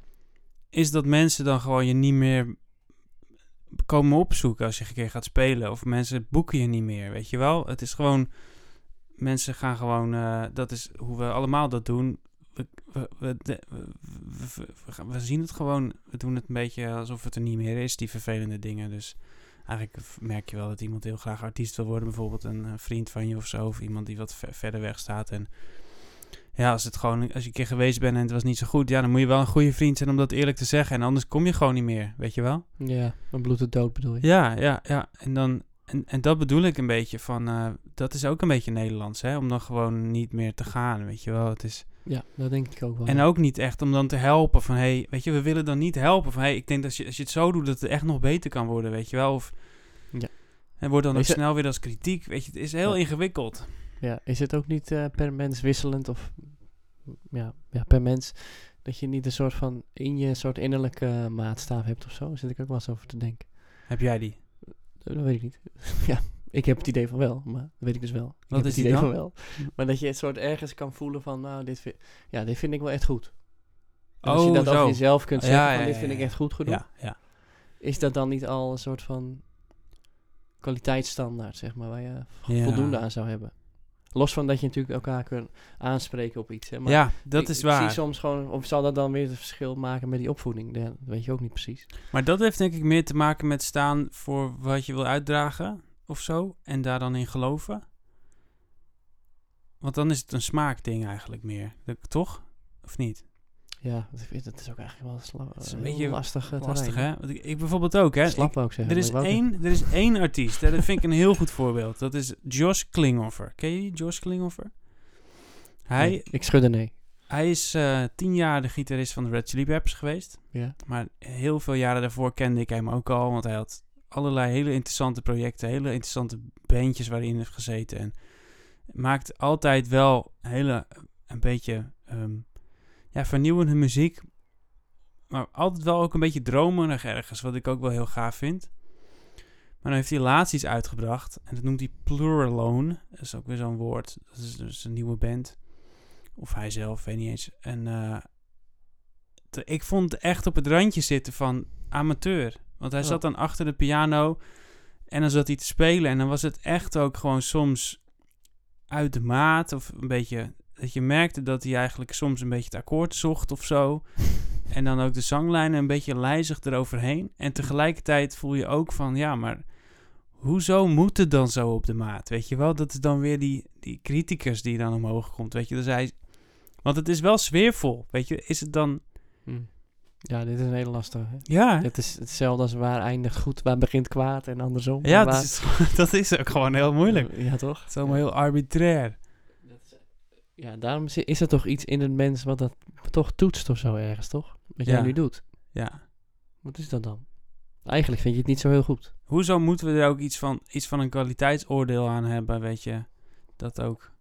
Speaker 1: is dat mensen dan gewoon je niet meer komen opzoeken als je een keer gaat spelen. Of mensen boeken je niet meer, weet je wel? Het is gewoon, mensen gaan gewoon, eh, dat is hoe we allemaal dat doen. We, we, we, de- we- we- we gaan- we zien het gewoon, we doen het een beetje alsof het er niet meer is, die vervelende dingen. Dus eigenlijk v- merk je wel dat iemand heel graag artiest wil worden, bijvoorbeeld een, eh, vriend van je of zo. Of iemand die wat ver- verder weg staat en... Ja, als, het gewoon, als je een keer geweest bent en het was niet zo goed, ja, dan moet je wel een goede vriend zijn om dat eerlijk te zeggen. En anders kom je gewoon niet meer, weet je wel?
Speaker 2: Ja, dan bloedt het dood bedoel je.
Speaker 1: Ja, ja, ja. En, dan, en, en dat bedoel ik een beetje van, eh, dat is ook een beetje Nederlands, hè? Om dan gewoon niet meer te gaan, weet je wel? Het is,
Speaker 2: Ja, dat denk ik ook wel.
Speaker 1: en ook niet echt om dan te helpen van, hé, hey, weet je, we willen dan niet helpen van, hé, hey, ik denk dat als je, als je het zo doet, dat het echt nog beter kan worden, weet je wel? Of,
Speaker 2: Ja.
Speaker 1: En wordt dan ook
Speaker 2: Weet je-
Speaker 1: snel weer als kritiek, weet je, het is heel
Speaker 2: Ja.
Speaker 1: ingewikkeld.
Speaker 2: Ja, is het ook niet eh, per mens wisselend of ja, ja, per mens dat je niet een soort van in je soort innerlijke eh, maatstaaf hebt of zo? Daar zit ik ook wel eens over te denken.
Speaker 1: Heb jij die?
Speaker 2: Dat, dat weet ik niet. ja, ik heb het idee van wel, maar dat weet ik dus wel. ik
Speaker 1: Wat
Speaker 2: heb
Speaker 1: is
Speaker 2: het
Speaker 1: die
Speaker 2: idee
Speaker 1: dan?
Speaker 2: van wel. Maar dat je het soort ergens kan voelen van, nou, dit vind, ja, dit vind ik wel echt goed. En als je
Speaker 1: Oh,
Speaker 2: dat
Speaker 1: zo.
Speaker 2: over jezelf kunt
Speaker 1: Ja,
Speaker 2: zeggen,
Speaker 1: ja,
Speaker 2: van, dit
Speaker 1: ja,
Speaker 2: vind
Speaker 1: ja.
Speaker 2: ik echt goed genoeg.
Speaker 1: Ja, ja.
Speaker 2: Is dat dan niet al een soort van kwaliteitsstandaard, zeg maar, waar je
Speaker 1: Ja.
Speaker 2: voldoende aan zou hebben? Los van dat je natuurlijk elkaar kunt aanspreken op iets. Hè, maar
Speaker 1: ja, dat
Speaker 2: ik-
Speaker 1: is
Speaker 2: ik
Speaker 1: waar.
Speaker 2: zie soms gewoon, of zal dat dan weer het verschil maken met die opvoeding? Ja, dat weet je ook niet precies.
Speaker 1: Maar dat heeft denk ik meer te maken met staan voor wat je wil uitdragen of zo. En daar dan in geloven. Want dan is het een smaakding eigenlijk meer. Dat- Toch? Of niet?
Speaker 2: Ja, dat, is- dat is ook eigenlijk wel een, sla-
Speaker 1: is een
Speaker 2: een
Speaker 1: beetje
Speaker 2: lastig eh,
Speaker 1: Lastig
Speaker 2: terrein.
Speaker 1: hè? Want ik, ik bijvoorbeeld ook hè.
Speaker 2: Slap
Speaker 1: Ik-
Speaker 2: wou ik zeggen.
Speaker 1: er, is
Speaker 2: maar ik wou ook
Speaker 1: één, er is één artiest. hè, Dat vind ik een heel goed voorbeeld. Dat is Josh Klinghoffer. Ken je die, Josh Klinghoffer? Hij,
Speaker 2: niet- Nee, ik schudde nee.
Speaker 1: hij is eh, tien jaar de gitarist van de Red Chili Peppers geweest.
Speaker 2: Ja.
Speaker 1: Maar heel veel jaren daarvoor kende ik hem ook al. Want hij had allerlei hele interessante projecten, hele interessante bandjes waarin hij heeft gezeten. En maakt altijd wel hele, een beetje ehm, ja, vernieuwende muziek. Maar altijd wel ook een beetje dromerig ergens, wat ik ook wel heel gaaf vind. Maar dan heeft hij laatst iets uitgebracht. En dat noemt hij Pluralone. Dat is ook weer zo'n woord. Dat is dus een nieuwe band. Of hij zelf, weet niet eens. En eh, te- ik vond het echt op het randje zitten van amateur. Want hij
Speaker 2: Oh.
Speaker 1: zat dan achter de piano en dan zat hij te spelen. En dan was het echt ook gewoon soms uit de maat of een beetje... Dat je merkte dat hij eigenlijk soms een beetje het akkoord zocht of zo. En dan ook de zanglijnen een beetje lijzig eroverheen. En tegelijkertijd voel je ook van, ja, maar hoezo moet het dan zo op de maat? Weet je wel, dat is dan weer die, die criticus die dan omhoog komt, weet je. Dus hij, want het is wel sfeervol, weet je. Is het dan,
Speaker 2: Hm. Ja, dit is een hele lastige. hè.
Speaker 1: ja,
Speaker 2: Het is hetzelfde als waar eindigt goed, waar begint kwaad en andersom.
Speaker 1: ja
Speaker 2: waar,
Speaker 1: dat, is, dat is ook gewoon heel moeilijk.
Speaker 2: Ja, toch?
Speaker 1: Het is allemaal heel arbitrair.
Speaker 2: Ja, daarom is, is er toch iets in het mens wat dat toch toetst of zo ergens, toch? Wat jij
Speaker 1: Ja.
Speaker 2: nu doet.
Speaker 1: Ja.
Speaker 2: Wat is dat dan? Eigenlijk vind je het niet zo heel goed.
Speaker 1: Hoezo moeten we er ook iets van, iets van een kwaliteitsoordeel aan hebben, weet je. Dat ook.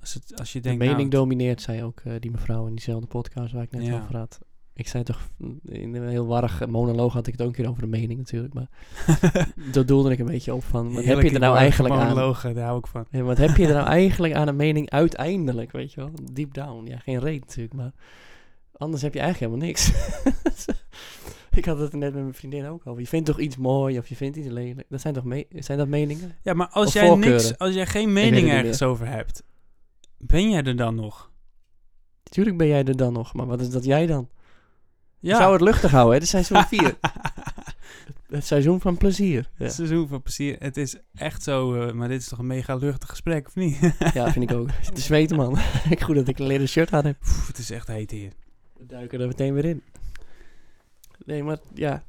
Speaker 1: Als, het, als je denkt,
Speaker 2: de
Speaker 1: nou,
Speaker 2: mening domineert, zei ook eh, die mevrouw in diezelfde podcast waar ik net
Speaker 1: Ja.
Speaker 2: over had. Ik zei toch, mm, in een heel warrig eh, monoloog had ik het ook een keer over de mening natuurlijk. Maar dat doelde ik een beetje op van, wat heb je er nou eigenlijk aan?
Speaker 1: monologen, daar hou ik van.
Speaker 2: Ja, wat heb je er nou eigenlijk aan een mening uiteindelijk, weet je wel? Deep down, ja, geen reet natuurlijk, maar anders heb je eigenlijk helemaal niks. ik had het er net met mijn vriendin ook over. Je vindt toch iets mooi of je vindt iets lelijk. Dat zijn toch me- zijn dat meningen?
Speaker 1: Ja, maar als
Speaker 2: Of
Speaker 1: jij, niks,
Speaker 2: voorkeuren.
Speaker 1: als jij geen
Speaker 2: weet het
Speaker 1: mening
Speaker 2: niet
Speaker 1: ergens over hebt, ben jij er dan nog?
Speaker 2: Natuurlijk ben jij er dan nog, maar wat is dat jij dan?
Speaker 1: Ja.
Speaker 2: Zou het luchtig houden, hè? Het is seizoen 4. het seizoen van plezier. Ja,
Speaker 1: Het seizoen van plezier. Het is echt zo, eh, maar dit is toch een mega luchtig gesprek, of niet?
Speaker 2: ja vind ik ook. Het is weten, man. ik goed dat ik een leren shirt aan heb.
Speaker 1: Pff, het is echt heet hier.
Speaker 2: We duiken er meteen weer in. Nee, maar ja.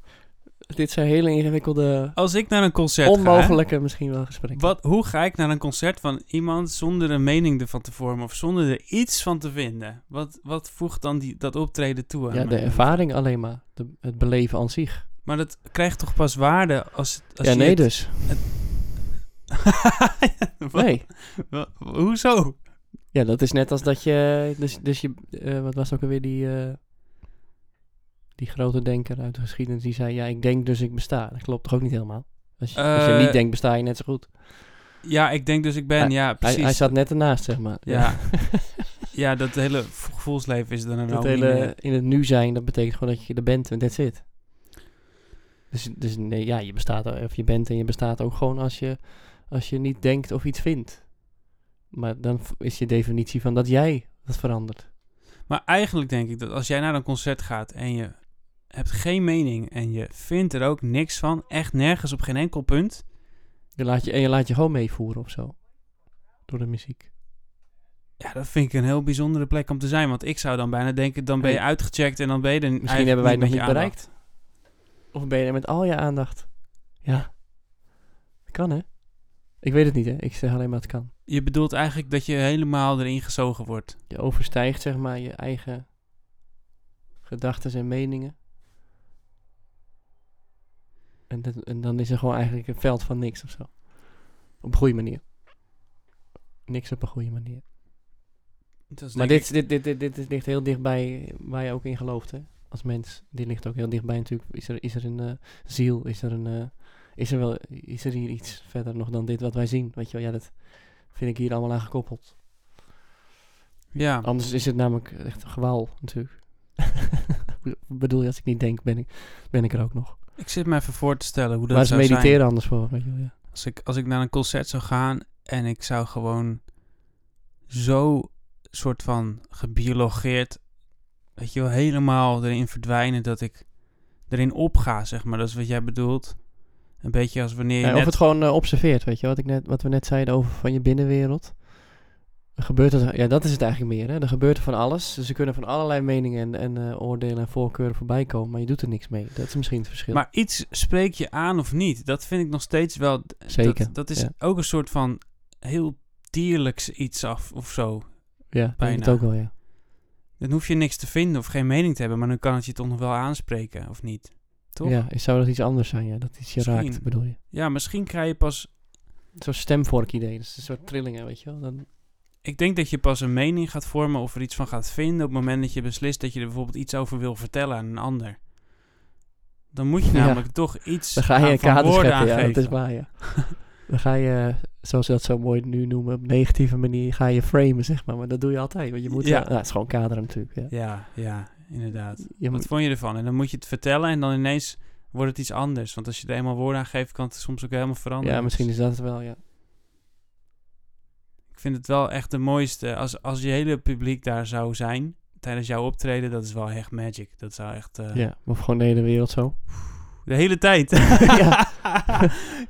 Speaker 2: Dit zijn hele ingewikkelde,
Speaker 1: Als ik naar een concert
Speaker 2: onmogelijke misschien wel gesprekken.
Speaker 1: ga, wat, hoe ga ik naar een concert van iemand zonder een mening ervan te vormen of zonder er iets van te vinden? Wat, wat voegt dan die, dat optreden toe aan
Speaker 2: Ja, de
Speaker 1: mij?
Speaker 2: ervaring alleen maar. De, het beleven aan zich.
Speaker 1: Maar dat krijgt toch pas waarde als, als
Speaker 2: ja,
Speaker 1: je
Speaker 2: nee
Speaker 1: het-
Speaker 2: dus.
Speaker 1: Wat?
Speaker 2: Nee.
Speaker 1: Wat? Hoezo?
Speaker 2: Ja, dat is net als dat je... Dus, dus je eh, wat was ook alweer die... eh, die grote denker uit de geschiedenis die zei... Ja, ik denk dus ik besta. Dat klopt toch ook niet helemaal? Als je, als je
Speaker 1: Eh,
Speaker 2: niet denkt, besta je net zo goed.
Speaker 1: Ja, ik denk dus ik ben, ja,
Speaker 2: Hij,
Speaker 1: precies.
Speaker 2: hij zat net ernaast, zeg maar.
Speaker 1: Ja. ja, dat hele v- gevoelsleven is er dan
Speaker 2: Dat
Speaker 1: ook niet
Speaker 2: hele
Speaker 1: Nou, meer.
Speaker 2: in het nu zijn, dat betekent gewoon dat je er bent en that's it. Dus, dus nee, ja, je bestaat er- of je bent en je bestaat ook gewoon als je, als je niet denkt of iets vindt. Maar dan v- is je definitie van dat jij dat verandert.
Speaker 1: Maar eigenlijk denk ik dat als jij naar een concert gaat en je hebt geen mening en je vindt er ook niks van, echt nergens op geen enkel punt.
Speaker 2: Je laat je, en je laat je gewoon meevoeren of zo. Door de muziek.
Speaker 1: Ja, dat vind ik een heel bijzondere plek om te zijn. Want ik zou dan bijna denken, dan ben je
Speaker 2: Hey.
Speaker 1: uitgecheckt en dan ben je er
Speaker 2: Misschien hebben wij het nog
Speaker 1: met
Speaker 2: niet
Speaker 1: je aandacht.
Speaker 2: bereikt. Of ben je er met al je aandacht? Ja. Dat kan, hè? Ik weet het niet, hè? Ik zeg alleen maar het kan.
Speaker 1: Je bedoelt eigenlijk dat je helemaal erin gezogen wordt.
Speaker 2: Je overstijgt, zeg maar, je eigen gedachten en meningen. En, dat, en dan is er gewoon eigenlijk een veld van niks of zo. Op een goede manier. Niks op een goede manier.
Speaker 1: Dat is
Speaker 2: Maar
Speaker 1: Dus denk
Speaker 2: dit, dit, dit, dit, dit ligt heel dichtbij waar je ook in gelooft, hè? Als mens. Dit ligt ook heel dichtbij natuurlijk. Is er, is er een eh, ziel? Is er, een, eh, is, er wel, is er hier iets verder nog dan dit wat wij zien? Weet je wel, ja, dat vind ik hier allemaal aan gekoppeld.
Speaker 1: ik- ja.
Speaker 2: Anders is het namelijk echt een gewaal, natuurlijk. Ik bedoel je, als ik niet denk, ben ik, ben ik er ook nog.
Speaker 1: Ik zit me even voor te stellen hoe dat
Speaker 2: maar ze
Speaker 1: zou
Speaker 2: mediteren
Speaker 1: zijn.
Speaker 2: anders voor, weet je wel, ja.
Speaker 1: Als ik, als ik naar een concert zou gaan en ik zou gewoon zo soort van gebiologeerd, weet je wel, helemaal erin verdwijnen dat ik erin opga, zeg maar. Dat is wat jij bedoelt. Een beetje als wanneer je
Speaker 2: Ja,
Speaker 1: net-
Speaker 2: Of het gewoon eh, observeert, weet je, wat, ik net, wat we net zeiden over van je binnenwereld. Er gebeurt er, ja, dat is het eigenlijk meer, hè. Er gebeurt er van alles. Dus er kunnen van allerlei meningen en, en eh, oordelen en voorkeuren voorbij komen, maar je doet er niks mee. Dat is misschien het verschil.
Speaker 1: Maar iets spreek je aan of niet. Dat vind ik nog steeds wel...
Speaker 2: Zeker,
Speaker 1: Dat, dat is
Speaker 2: ja.
Speaker 1: ook een soort van heel dierlijks iets af of zo.
Speaker 2: ja, ik denk het
Speaker 1: bijna.
Speaker 2: ook wel, ja.
Speaker 1: Dan hoef je niks te vinden of geen mening te hebben, maar dan kan het je toch nog wel aanspreken, of niet? Toch?
Speaker 2: Ja, zou dat iets anders zijn, ja. Dat iets je raakt,
Speaker 1: Misschien.
Speaker 2: bedoel je.
Speaker 1: Ja, misschien krijg je pas...
Speaker 2: Zo'n stemvork idee, dus een soort trillingen, weet je wel. Dan,
Speaker 1: Ik denk dat je pas een mening gaat vormen of er iets van gaat vinden op het moment dat je beslist dat je er bijvoorbeeld iets over wil vertellen aan een ander. Dan moet je
Speaker 2: Ja.
Speaker 1: namelijk toch iets
Speaker 2: Dan ga je
Speaker 1: aan-
Speaker 2: een
Speaker 1: van
Speaker 2: kader
Speaker 1: woorden
Speaker 2: scheppen, ja,
Speaker 1: aangeven.
Speaker 2: dat is waar, ja. Dan ga je, zoals ze dat zo mooi nu noemen, op negatieve manier ga je framen, zeg maar. Maar dat doe je altijd, want je moet...
Speaker 1: Ja.
Speaker 2: Ja. Nou, het is gewoon kaderen natuurlijk, ja.
Speaker 1: Ja, ja, inderdaad.
Speaker 2: Je
Speaker 1: Wat
Speaker 2: moet,
Speaker 1: vond je ervan? En dan moet je het vertellen en dan ineens wordt het iets anders. Want als je er eenmaal woorden aan geeft, kan het soms ook helemaal veranderen.
Speaker 2: ja, misschien
Speaker 1: Dus
Speaker 2: is dat het wel, ja.
Speaker 1: Ik vind het wel echt de mooiste. Als, als je hele publiek daar zou zijn tijdens jouw optreden, dat is wel echt magic. Dat zou echt... eh,
Speaker 2: ja. Of gewoon de hele wereld zo.
Speaker 1: De hele tijd.
Speaker 2: Ja.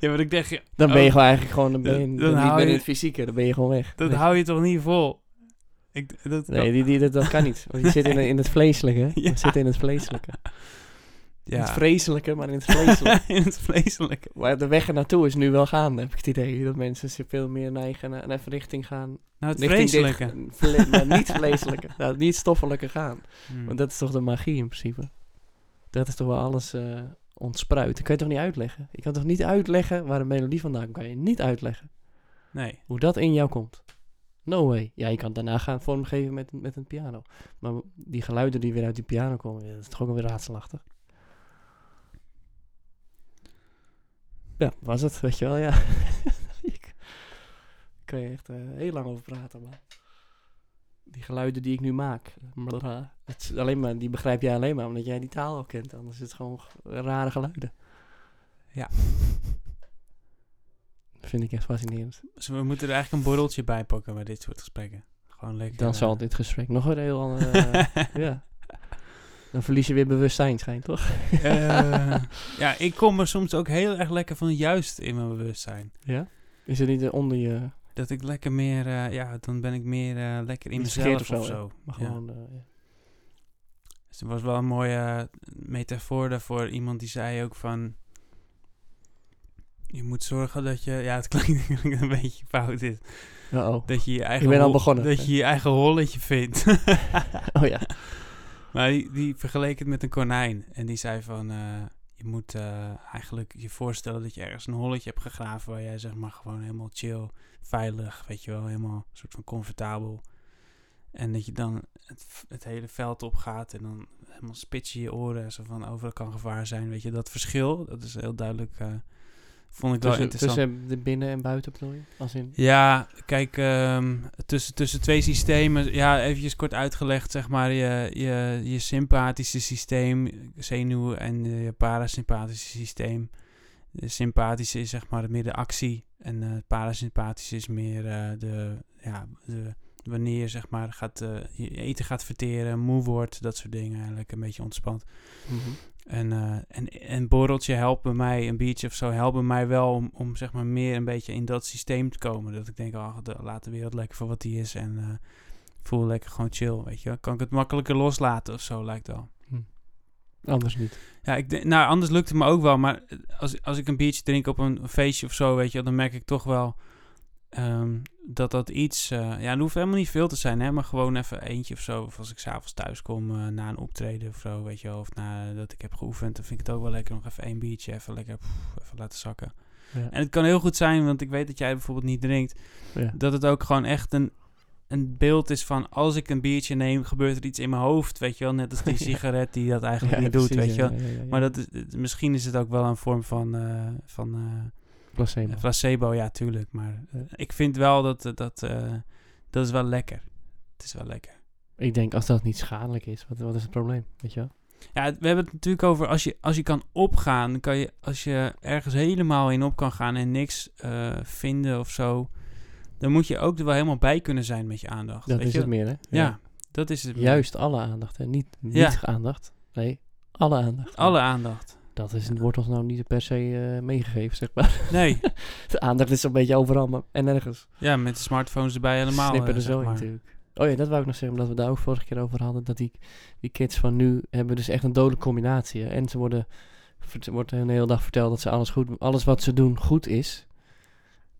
Speaker 1: ja. maar ik dacht, ja,
Speaker 2: Dan ben
Speaker 1: Oh.
Speaker 2: je gewoon eigenlijk gewoon... Dan ben je,
Speaker 1: Dan-
Speaker 2: dan
Speaker 1: dan
Speaker 2: niet
Speaker 1: hou
Speaker 2: meer
Speaker 1: je-
Speaker 2: in het fysieke, dan ben je gewoon weg.
Speaker 1: dat
Speaker 2: Weet je.
Speaker 1: hou je toch niet vol? Ik, dat,
Speaker 2: Nee, die, die, dat, dat kan niet. Want je zit in, in het vleeselijke. hè.
Speaker 1: Ja.
Speaker 2: Je zit in het vleeselijke. In
Speaker 1: ja.
Speaker 2: het vreselijke, maar in het vleeselijke.
Speaker 1: in het vleeselijke.
Speaker 2: maar de weg ernaartoe is nu wel gaande, heb ik het idee. Dat mensen zich veel meer neigen naar, naar even richting gaan
Speaker 1: Nou, het
Speaker 2: Richting
Speaker 1: vreselijke.
Speaker 2: dicht- vle- maar niet vleeselijke. nou, niet stoffelijke gaan.
Speaker 1: Hmm.
Speaker 2: Want dat is toch de magie in principe. Dat is toch wel alles eh ontspruit. Dat kan je toch niet uitleggen? Je kan toch niet uitleggen waar een melodie vandaan komt? Kan je niet uitleggen
Speaker 1: Nee.
Speaker 2: hoe dat in jou komt? No way. Ja, je kan het daarna gaan vormgeven met, met een piano. Maar die geluiden die weer uit die piano komen, ja, dat is toch ook weer raadselachtig. Ja, was het, weet je wel, ja. Ik- Daar kan je echt eh, heel lang over praten, maar... Die geluiden die ik nu maak, blablabla, het is alleen maar, die begrijp jij alleen maar omdat jij die taal al kent. Anders is het gewoon g- rare geluiden.
Speaker 1: Ja.
Speaker 2: Dat vind ik echt fascinerend.
Speaker 1: Dus we moeten er eigenlijk een borreltje bij pakken bij dit soort gesprekken. Gewoon lekker.
Speaker 2: Dan
Speaker 1: eh,
Speaker 2: zal dit gesprek nog een heel ander... eh, ja. Dan verlies je weer bewustzijn, schijnt toch?
Speaker 1: eh, ja, ik kom er soms ook heel erg lekker van juist in mijn bewustzijn.
Speaker 2: Ja. Is het niet eh, onder je,
Speaker 1: Dat ik lekker meer, eh, ja, dan ben ik meer eh, lekker in
Speaker 2: Niet vergeerd
Speaker 1: mezelf
Speaker 2: of
Speaker 1: of
Speaker 2: zo,
Speaker 1: zo.
Speaker 2: hè? maar
Speaker 1: Ja.
Speaker 2: gewoon... eh, ja.
Speaker 1: Dus er was wel een mooie eh, metafoor daarvoor. Iemand die zei ook van... Je moet zorgen dat je... Ja, het klinkt natuurlijk een beetje fout dit.
Speaker 2: Uh-oh.
Speaker 1: Dat je je eigen...
Speaker 2: ben al
Speaker 1: hol-
Speaker 2: begonnen.
Speaker 1: Dat je je eigen holletje vindt.
Speaker 2: Oh ja.
Speaker 1: maar die, die vergeleek het met een konijn. En die zei van... eh, je moet eh, eigenlijk je voorstellen dat je ergens een holletje hebt gegraven... waar jij zeg maar gewoon helemaal chill, veilig, weet je wel. Helemaal een soort van comfortabel. En dat je dan het, v- het hele veld opgaat en dan helemaal spits je je oren. Zo van overal kan gevaar zijn. Weet je, dat verschil, dat is heel duidelijk. eh, vond ik wel
Speaker 2: Tussen,
Speaker 1: interessant.
Speaker 2: tussen de binnen- en buiten bedoel je? Als in...
Speaker 1: Ja, kijk, ehm, tussen, tussen twee systemen, ja, eventjes kort uitgelegd, zeg maar, je, je, je sympathische systeem, zenuw, en eh, je parasympathische systeem. De sympathische is zeg maar meer de actie en eh, het parasympathische is meer eh, de, ja, de wanneer je zeg maar gaat, eh, je eten gaat verteren, moe wordt, dat soort dingen eigenlijk. Een beetje ontspant.
Speaker 2: Mhm.
Speaker 1: En, eh, en, en borreltje helpt bij mij, een biertje of zo helpt bij mij wel om, om zeg maar meer een beetje in dat systeem te komen. Dat ik denk, oh, de, laat de wereld lekker voor wat die is en eh, voel lekker gewoon chill, weet je. wel. Kan ik het makkelijker loslaten of zo, lijkt wel.
Speaker 2: Anders niet.
Speaker 1: Ja, ik denk, nou, anders lukt het me ook wel, maar als, als ik een biertje drink op een feestje of zo, weet je, wel, dan merk ik toch wel ehm, dat dat iets, eh, ja, het hoeft helemaal niet veel te zijn, hè, maar gewoon even eentje of zo. Of als ik s'avonds thuis kom eh, na een optreden of zo, weet je, wel, of nadat ik heb geoefend, dan vind ik het ook wel lekker nog even één biertje, even lekker, pff, even laten zakken.
Speaker 2: Ja.
Speaker 1: En het kan heel goed zijn, want ik weet dat jij bijvoorbeeld niet drinkt,
Speaker 2: Ja.
Speaker 1: dat het ook gewoon echt een, een beeld is van als ik een biertje neem, gebeurt er iets in mijn hoofd, weet je wel, net als die
Speaker 2: Ja.
Speaker 1: sigaret die dat eigenlijk
Speaker 2: Ja,
Speaker 1: niet
Speaker 2: precies,
Speaker 1: doet, weet je
Speaker 2: ja,
Speaker 1: wel.
Speaker 2: ja, ja, ja.
Speaker 1: Maar dat is, het- misschien is het ook wel een vorm van, eh, van eh,
Speaker 2: Placebo.
Speaker 1: placebo, ja, tuurlijk. Maar eh,
Speaker 2: Ja.
Speaker 1: ik vind wel dat eh, dat, eh, dat is wel lekker. Het is wel lekker.
Speaker 2: Ik denk, als dat niet schadelijk is, wat, wat is het probleem? Weet je wel?
Speaker 1: Ja, het- we hebben het natuurlijk over als je, als je kan opgaan, dan kan je, als je ergens helemaal in op kan gaan en niks eh, vinden of zo, dan moet je ook er wel helemaal bij kunnen zijn met je aandacht.
Speaker 2: Dat
Speaker 1: weet
Speaker 2: is
Speaker 1: je?
Speaker 2: het meer, hè?
Speaker 1: Ja, dat is het.
Speaker 2: Juist alle aandacht, hè? Niet, niet
Speaker 1: Ja.
Speaker 2: aandacht. Nee, alle aandacht.
Speaker 1: Alle aandacht.
Speaker 2: Dat is, wordt ons nou niet per se eh, meegegeven, zeg maar.
Speaker 1: Nee,
Speaker 2: De aandacht is een beetje overal maar, en ergens.
Speaker 1: ja, met de smartphones erbij helemaal.
Speaker 2: Snippen
Speaker 1: eh,
Speaker 2: er
Speaker 1: zeg
Speaker 2: zo in
Speaker 1: maar.
Speaker 2: natuurlijk. Oh ja, dat wou ik nog zeggen, omdat we daar ook vorige keer over hadden. Dat die, die kids van nu hebben dus echt een dodelijke combinatie. hè. En ze worden, vert- wordt hun hele dag verteld dat ze alles, goed, alles wat ze doen goed is.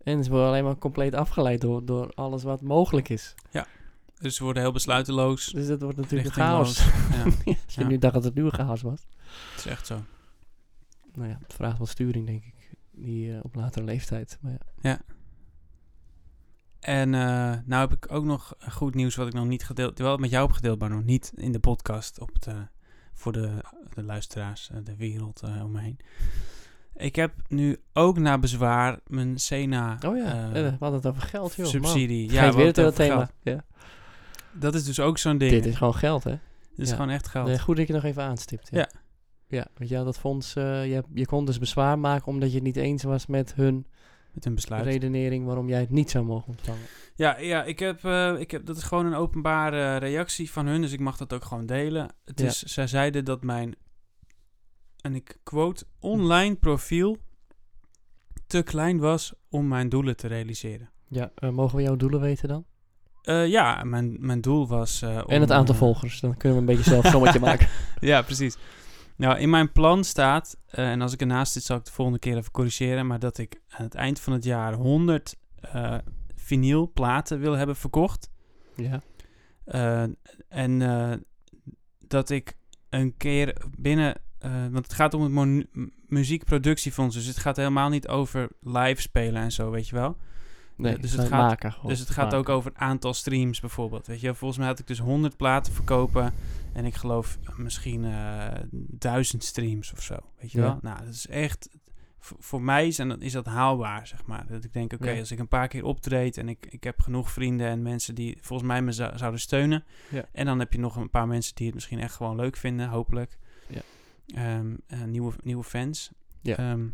Speaker 2: En ze worden alleen maar compleet afgeleid door, door alles wat mogelijk is.
Speaker 1: Dus ze worden heel besluiteloos.
Speaker 2: Dus dat wordt natuurlijk een
Speaker 1: Richtingloos,
Speaker 2: chaos.
Speaker 1: ja.
Speaker 2: Als je
Speaker 1: Ja.
Speaker 2: nu dacht dat het nu een chaos was.
Speaker 1: Het is echt zo.
Speaker 2: Nou ja, het vraagt wat sturing, denk ik. Die eh, op latere leeftijd. Maar ja.
Speaker 1: En eh, nou heb ik ook nog goed nieuws wat ik nog niet gedeeld, wel met jou heb gedeeld, maar nog niet in de podcast op de, voor de, de luisteraars, eh, de wereld eh, om me heen. Ik heb nu ook na bezwaar mijn Sena
Speaker 2: Oh ja,
Speaker 1: eh,
Speaker 2: eh, we hadden het over geld, joh.
Speaker 1: subsidie.
Speaker 2: Man. Ja,
Speaker 1: we
Speaker 2: weer het
Speaker 1: hadden
Speaker 2: hele
Speaker 1: het over
Speaker 2: thema. Ja.
Speaker 1: geld. Dat is dus ook zo'n ding.
Speaker 2: Dit is gewoon geld, hè?
Speaker 1: Dit is
Speaker 2: ja.
Speaker 1: gewoon echt geld.
Speaker 2: Nee, goed dat je het nog even aanstipt. Ja.
Speaker 1: Ja.
Speaker 2: Ja, want je had dat fonds, eh, je, je kon dus bezwaar maken omdat je het niet eens was met hun
Speaker 1: Met een besluit.
Speaker 2: redenering waarom jij het niet zou mogen ontvangen.
Speaker 1: Ja, ja ik heb, eh, ik heb, dat is gewoon een openbare reactie van hun, dus ik mag dat ook gewoon delen. Het
Speaker 2: Ja.
Speaker 1: is, zij zeiden dat mijn, en ik quote, online profiel te klein was om mijn doelen te realiseren.
Speaker 2: Ja, eh, mogen we jouw doelen weten dan?
Speaker 1: Eh, ja, mijn, mijn doel was... eh, om,
Speaker 2: en het aantal
Speaker 1: eh,
Speaker 2: volgers, dan kunnen we een beetje zelf een sommetje maken.
Speaker 1: Ja, precies. Nou, in mijn plan staat, eh, en als ik ernaast zit, zal ik de volgende keer even corrigeren, maar dat ik aan het eind van het jaar 100 eh vinylplaten wil hebben verkocht.
Speaker 2: Ja,
Speaker 1: Eh, en eh, dat ik een keer binnen. eh, want het gaat om het mon- m- muziekproductiefonds. Dus het gaat helemaal niet over live spelen en zo, weet je wel.
Speaker 2: nee,
Speaker 1: dus
Speaker 2: dus
Speaker 1: het
Speaker 2: het
Speaker 1: gaat-
Speaker 2: maken gewoon.
Speaker 1: dus het gaat ook
Speaker 2: Maken.
Speaker 1: over het aantal streams bijvoorbeeld. Weet je, wel. volgens mij had ik dus 100 platen verkopen. En ik geloof misschien eh 1000 streams of zo. Weet je
Speaker 2: Ja.
Speaker 1: wel? Nou, dat is echt. v- Voor mij zijn, dat- is dat haalbaar, zeg maar. Dat ik denk, oké,
Speaker 2: Ja.
Speaker 1: als ik een paar keer optreed en ik, ik heb genoeg vrienden en mensen die volgens mij me zou- zouden steunen.
Speaker 2: Ja.
Speaker 1: En dan heb je nog een paar mensen die het misschien echt gewoon leuk vinden, hopelijk.
Speaker 2: Ja.
Speaker 1: Ehm, eh, nieuwe, nieuwe fans.
Speaker 2: Ja.
Speaker 1: Ehm,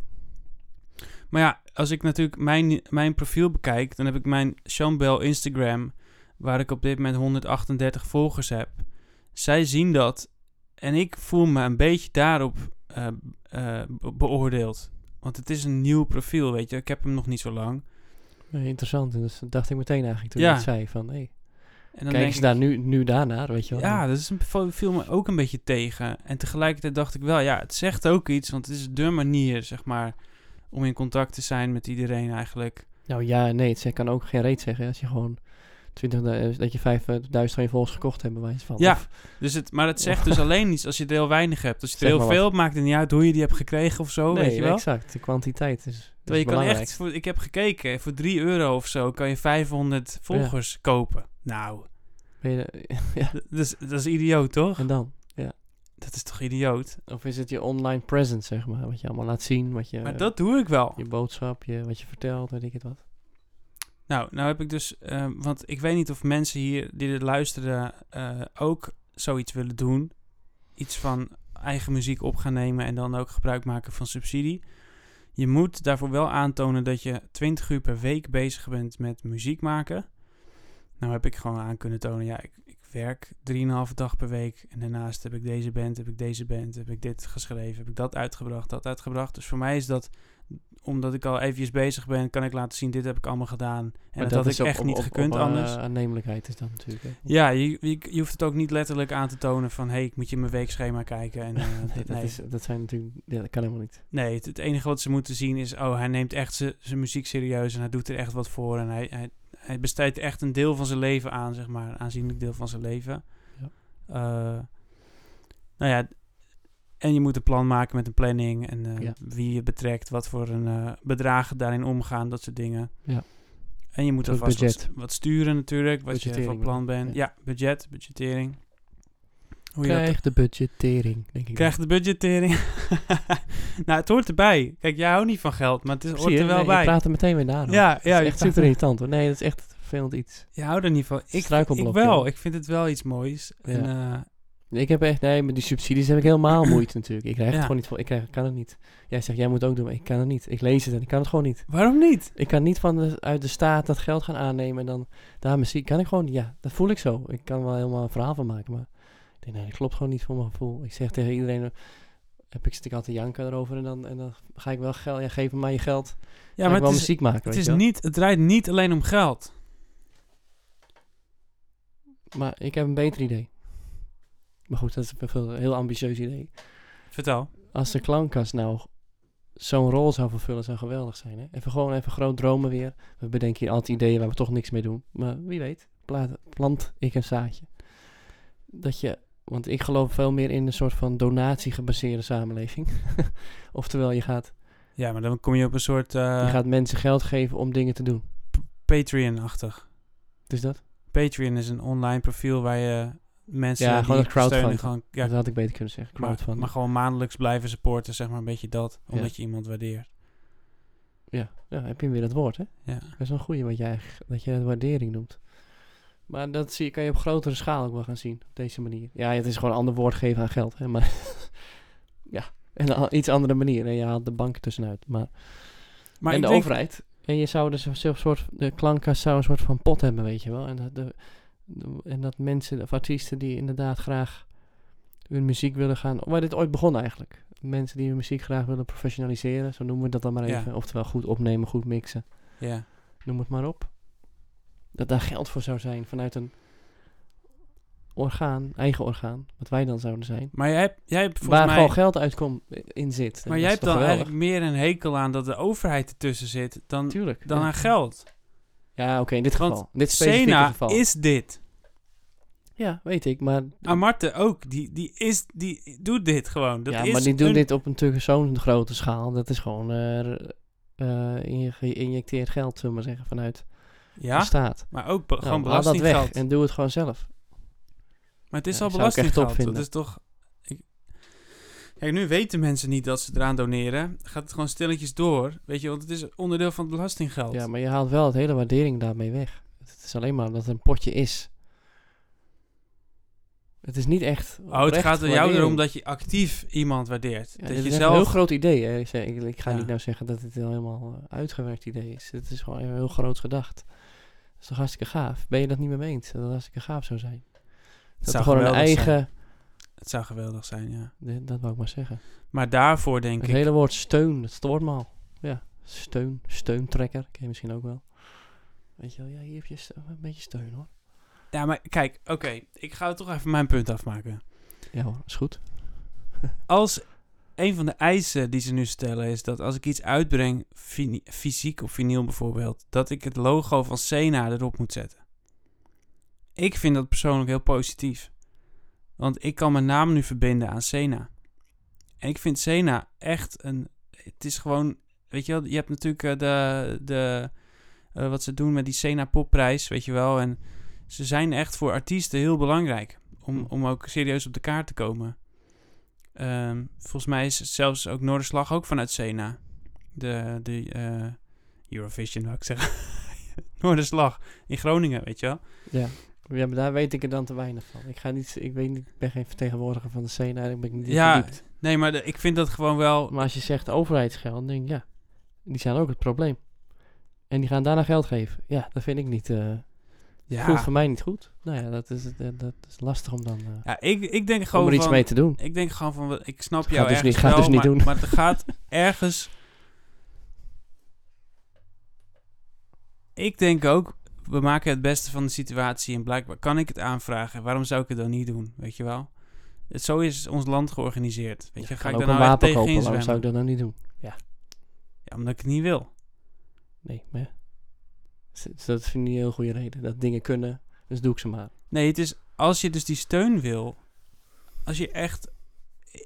Speaker 1: maar ja, als ik natuurlijk mijn, mijn profiel bekijk, dan heb ik mijn Sean Bell Instagram, waar ik op dit moment 138 volgers heb. Zij zien dat en ik voel me een beetje daarop eh, eh, be- beoordeeld. Want het is een nieuw profiel, weet je. Ik heb hem nog niet zo lang.
Speaker 2: Nee, interessant, en dus dat dacht ik meteen eigenlijk toen
Speaker 1: Ja.
Speaker 2: je het zei van, hey,
Speaker 1: En dan
Speaker 2: kijk eens
Speaker 1: ik-
Speaker 2: daar nu, nu daarnaar, weet je wel.
Speaker 1: Ja, dat is een, vo- viel me ook een beetje tegen. En tegelijkertijd dacht ik wel, ja, het zegt ook iets. Want het is de manier, zeg maar, om in contact te zijn met iedereen eigenlijk.
Speaker 2: Nou ja, nee, het ze- kan ook geen reet zeggen. hè, Als je gewoon 20, dat je 5000 van je volgers gekocht hebt, bij wijze van.
Speaker 1: Ja,
Speaker 2: Of-
Speaker 1: Dus het, maar het zegt dus alleen iets als je er heel weinig hebt. Als je er
Speaker 2: Zeg
Speaker 1: heel
Speaker 2: maar wat.
Speaker 1: veel hebt, maakt het niet uit hoe je die hebt gekregen of zo, Oh, weet je wel.
Speaker 2: exact. De kwantiteit is, is
Speaker 1: Terwijl je kan
Speaker 2: belangrijk.
Speaker 1: echt, voor, ik heb gekeken, voor 3 euro of zo kan je 500 volgers kopen. Nou,
Speaker 2: Ben je- ja,
Speaker 1: d- dat is, dat is idioot, toch?
Speaker 2: en dan?
Speaker 1: Dat is toch idioot?
Speaker 2: Of is het je online presence, zeg maar? Wat je allemaal laat zien, wat je,
Speaker 1: Maar dat doe ik wel.
Speaker 2: je boodschap, je, wat je vertelt, weet ik het wat.
Speaker 1: Nou, nou heb ik dus, eh, want ik weet niet of mensen hier die dit luisteren eh, ook zoiets willen doen. Iets van eigen muziek op gaan nemen en dan ook gebruik maken van subsidie. Je moet daarvoor wel aantonen dat je 20 uur per week bezig bent met muziek maken. Nou heb ik gewoon aan kunnen tonen, ja, ik, ik werk 3,5 dag per week. En daarnaast heb ik deze band, heb ik deze band, heb ik dit geschreven, heb ik dat uitgebracht, dat uitgebracht. Dus voor mij is dat, omdat ik al eventjes bezig ben, kan ik laten zien, dit heb ik allemaal gedaan. En dat, had
Speaker 2: is
Speaker 1: ik
Speaker 2: op-
Speaker 1: echt
Speaker 2: op-
Speaker 1: niet
Speaker 2: op-
Speaker 1: gekund
Speaker 2: op, eh,
Speaker 1: anders.
Speaker 2: aannemelijkheid is dat natuurlijk. hè.
Speaker 1: Ja, je, je, je hoeft het ook niet letterlijk aan te tonen van... hé, hey, ik moet je mijn weekschema kijken. En, eh,
Speaker 2: Nee,
Speaker 1: dit-
Speaker 2: dat,
Speaker 1: nee,
Speaker 2: is, dat zijn natuurlijk, ja, dat kan helemaal niet.
Speaker 1: nee het, het enige wat ze moeten zien is... oh, hij neemt echt zijn zijn muziek serieus en hij doet er echt wat voor. En hij, hij, hij besteedt echt een deel van zijn leven aan, zeg maar. Een aanzienlijk deel van zijn leven.
Speaker 2: Ja.
Speaker 1: Eh, nou ja, en je moet een plan maken met een planning... en eh,
Speaker 2: Ja.
Speaker 1: wie je betrekt, wat voor een, eh, bedragen daarin omgaan, dat soort dingen.
Speaker 2: Ja.
Speaker 1: En je moet
Speaker 2: Een soort
Speaker 1: alvast wat,
Speaker 2: budget.
Speaker 1: wat sturen natuurlijk, wat je van
Speaker 2: Budgettering,
Speaker 1: plan bent.
Speaker 2: ja.
Speaker 1: Ja, budget, budgettering. Hoe je dat
Speaker 2: Krijg de budgettering, denk ik.
Speaker 1: Krijg de budgettering. nou, het hoort erbij. Kijk, jij houdt niet van geld, maar het is,
Speaker 2: dan.
Speaker 1: hoort
Speaker 2: Zie je,
Speaker 1: er wel
Speaker 2: nee,
Speaker 1: bij.
Speaker 2: Ik praat er meteen weer naar.
Speaker 1: ja, ja, je
Speaker 2: echt
Speaker 1: praat-
Speaker 2: super irritant hoor. Nee, dat is echt een vervelend iets.
Speaker 1: je houdt er niet van. Ik,
Speaker 2: Struikelblok,
Speaker 1: ik wel.
Speaker 2: joh.
Speaker 1: Ik vind het wel iets moois. En, eh,
Speaker 2: Ik heb echt, nee, met die subsidies heb ik helemaal moeite natuurlijk. Ik krijg
Speaker 1: Ja.
Speaker 2: het gewoon niet voor, ik krijg, kan het niet. Jij zegt, jij moet het ook doen, maar ik kan het niet. Ik lees het en ik kan het gewoon niet.
Speaker 1: waarom niet?
Speaker 2: Ik kan niet van de, uit de staat dat geld gaan aannemen en dan daar misschien kan ik gewoon, ja, dat voel ik zo. Ik kan er wel helemaal een verhaal van maken, maar ik denk, nee, dat klopt gewoon niet voor mijn gevoel. Ik zeg tegen iedereen, eh, heb ik zit ik altijd janken erover en dan, en dan ga ik wel geld, ja, geef me maar je geld.
Speaker 1: Ja,
Speaker 2: Ga
Speaker 1: maar
Speaker 2: ik wel
Speaker 1: het, is,
Speaker 2: muziek maken.
Speaker 1: het,
Speaker 2: weet
Speaker 1: is
Speaker 2: je wel.
Speaker 1: niet, het draait niet alleen om geld.
Speaker 2: Maar ik heb een beter idee. Maar goed, dat is een veel- heel ambitieus idee.
Speaker 1: Vertel.
Speaker 2: Als de klankkast nou zo'n rol zou vervullen, zou geweldig zijn. Hè? Even gewoon even groot dromen weer. We bedenken hier altijd ideeën waar we toch niks mee doen. Maar wie weet, pla- plant ik een zaadje. Dat je, want ik geloof veel meer in een soort van donatiegebaseerde samenleving. Oftewel, je gaat,
Speaker 1: Ja, maar dan kom je op een soort
Speaker 2: je
Speaker 1: eh,
Speaker 2: gaat mensen geld geven om dingen te doen.
Speaker 1: Patreon-achtig.
Speaker 2: Dus dat?
Speaker 1: Patreon is een online profiel waar je mensen
Speaker 2: Ja,
Speaker 1: die
Speaker 2: gewoon
Speaker 1: je
Speaker 2: het
Speaker 1: steunen
Speaker 2: crowdfunding.
Speaker 1: gewoon- ja,
Speaker 2: dat had ik beter kunnen zeggen.
Speaker 1: maar,
Speaker 2: Crowdfunding.
Speaker 1: maar gewoon maandelijks blijven supporten, zeg maar een beetje dat. Omdat je iemand waardeert.
Speaker 2: ja, ja, heb je weer dat woord, hè?
Speaker 1: Ja.
Speaker 2: Dat is wel een goeie wat jij eigenlijk- dat je het waardering noemt. Maar dat zie, kan je op grotere schaal ook wel gaan zien, op deze manier. Ja, het is gewoon een ander woord geven aan geld. Hè, maar ja, en een a- iets andere manier. En je haalt de bank tussenuit. Maar,
Speaker 1: Maar
Speaker 2: en
Speaker 1: ik
Speaker 2: de
Speaker 1: denk-
Speaker 2: overheid. En je zou dus een soort- soort, de klankkast zou een soort van pot hebben, weet je wel. En dat, de, de- en dat mensen of artiesten die inderdaad graag hun muziek willen gaan... Waar dit ooit begon eigenlijk. Mensen die hun muziek graag willen professionaliseren. Zo noemen we dat dan maar
Speaker 1: Ja.
Speaker 2: even. Oftewel goed opnemen, goed mixen
Speaker 1: Ja.
Speaker 2: noem het maar op. Dat daar geld voor zou zijn vanuit een orgaan, eigen orgaan, wat wij dan zouden zijn.
Speaker 1: Maar jij hebt, jij hebt volgens
Speaker 2: waar
Speaker 1: mij...
Speaker 2: gewoon geld uitkomt in zit.
Speaker 1: Maar jij hebt dan eigenlijk meer een hekel aan dat de overheid ertussen zit dan,
Speaker 2: Tuurlijk.
Speaker 1: dan
Speaker 2: ja.
Speaker 1: aan geld.
Speaker 2: Ja, oké, in dit
Speaker 1: Want
Speaker 2: geval. dit specifieke
Speaker 1: Sena
Speaker 2: geval.
Speaker 1: is dit.
Speaker 2: Ja, weet ik,
Speaker 1: Ah,
Speaker 2: maar...
Speaker 1: Amarte ook, die, die, is, die doet dit gewoon. Dat
Speaker 2: ja,
Speaker 1: is
Speaker 2: maar die doen
Speaker 1: een-
Speaker 2: dit op natuurlijk zo'n grote schaal. Dat is gewoon eh, eh, inge- geïnjecteerd geld, zullen we maar zeggen, vanuit de
Speaker 1: Ja,
Speaker 2: staat.
Speaker 1: maar ook be-
Speaker 2: Nou,
Speaker 1: gewoon
Speaker 2: haal dat weg
Speaker 1: belastinggeld.
Speaker 2: en doe het gewoon zelf.
Speaker 1: Maar het is
Speaker 2: Ja,
Speaker 1: al
Speaker 2: zou ik echt top
Speaker 1: belastinggeld. Dat
Speaker 2: vinden.
Speaker 1: is toch... Ik... Kijk, nu weten mensen niet dat ze eraan doneren. Gaat het gewoon stilletjes door. Weet je, want het is onderdeel van het belastinggeld.
Speaker 2: Ja, maar je haalt wel het hele waardering daarmee weg. Het is alleen maar dat het een potje is. Het is niet echt.
Speaker 1: Oh, het gaat er jou erom
Speaker 2: erom
Speaker 1: dat je actief iemand waardeert. dat
Speaker 2: dit
Speaker 1: je
Speaker 2: is echt een heel
Speaker 1: zelf...
Speaker 2: groot idee. Hè. Ik, zeg- ik, ik ga
Speaker 1: Ja.
Speaker 2: niet nou zeggen dat het een helemaal eh, uitgewerkt idee is. Het is gewoon een heel groot gedacht. Dat is toch hartstikke gaaf? Ben je dat niet mee eens? Dat het hartstikke gaaf zou zijn. Dat
Speaker 1: zou
Speaker 2: er gewoon een
Speaker 1: geweldig zijn.
Speaker 2: eigen.
Speaker 1: Het zou geweldig zijn, ja.
Speaker 2: Nee, Dat wou ik maar zeggen.
Speaker 1: Maar daarvoor denk
Speaker 2: Het
Speaker 1: ik...
Speaker 2: hele woord steun, dat stoort me al. Ja, steun, steuntrekker. Ken je misschien ook wel. Weet je wel, ja, hier heb je ste- een beetje steun hoor.
Speaker 1: Ja, maar kijk, oké, ik ga toch even mijn punt afmaken.
Speaker 2: Ja hoor, is goed.
Speaker 1: Als een van de eisen die ze nu stellen is dat als ik iets uitbreng, fini- fysiek of vinyl bijvoorbeeld, dat ik het logo van Sena erop moet zetten. Ik vind dat persoonlijk heel positief. Want ik kan mijn naam nu verbinden aan Sena. En ik vind Sena echt een. Het is gewoon. Weet je wel, je hebt natuurlijk eh, de. de eh, wat ze doen met die Sena Popprijs, weet je wel. En ze zijn echt voor artiesten heel belangrijk. Om,
Speaker 2: Hm.
Speaker 1: om ook serieus op de kaart te komen. Ehm, volgens mij is zelfs ook Noorderslag ook vanuit Sena. De, de eh, Eurovision, wou ik zeggen. Noorderslag in Groningen, weet je wel.
Speaker 2: Ja. ja, maar daar weet ik er dan te weinig van. Ik, ga niet, ik, weet niet, ik ben geen vertegenwoordiger van de scene, eigenlijk ben ik niet
Speaker 1: Ja.
Speaker 2: verdiept.
Speaker 1: Nee, maar de- ik vind dat gewoon wel...
Speaker 2: Maar als je zegt overheidsgeld, dan denk ik, ja, die zijn ook het probleem. En die gaan daarna geld geven. Ja, dat vind ik niet... eh, Voelt
Speaker 1: Ja,
Speaker 2: voor mij niet goed. Nou ja, dat is, dat, dat is lastig om dan eh,
Speaker 1: ja ik, ik denk gewoon
Speaker 2: om er iets
Speaker 1: van,
Speaker 2: mee te doen.
Speaker 1: Ik denk gewoon van, ik snap
Speaker 2: Gaat
Speaker 1: jou
Speaker 2: dus
Speaker 1: ergens
Speaker 2: niet- gaat
Speaker 1: wel,
Speaker 2: dus niet
Speaker 1: maar,
Speaker 2: doen.
Speaker 1: maar er gaat ergens... Ik denk ook, we maken het beste van de situatie en blijkbaar kan ik het aanvragen. Waarom zou ik het dan niet doen, weet je wel? Het, zo is ons land georganiseerd. Weet je,
Speaker 2: Ik
Speaker 1: ga
Speaker 2: kan
Speaker 1: ik
Speaker 2: ook
Speaker 1: daar
Speaker 2: een
Speaker 1: nou echt
Speaker 2: wapen
Speaker 1: tegen
Speaker 2: kopen,
Speaker 1: inzwemmen?
Speaker 2: waarom zou ik dat nou niet doen?
Speaker 1: Ja, omdat ik het niet wil.
Speaker 2: Nee, maar ja. Dus- dus dat vind ik niet een heel goede reden. Dat dingen kunnen, dus doe ik ze maar.
Speaker 1: Nee, het is als je dus die steun wil. Als je echt.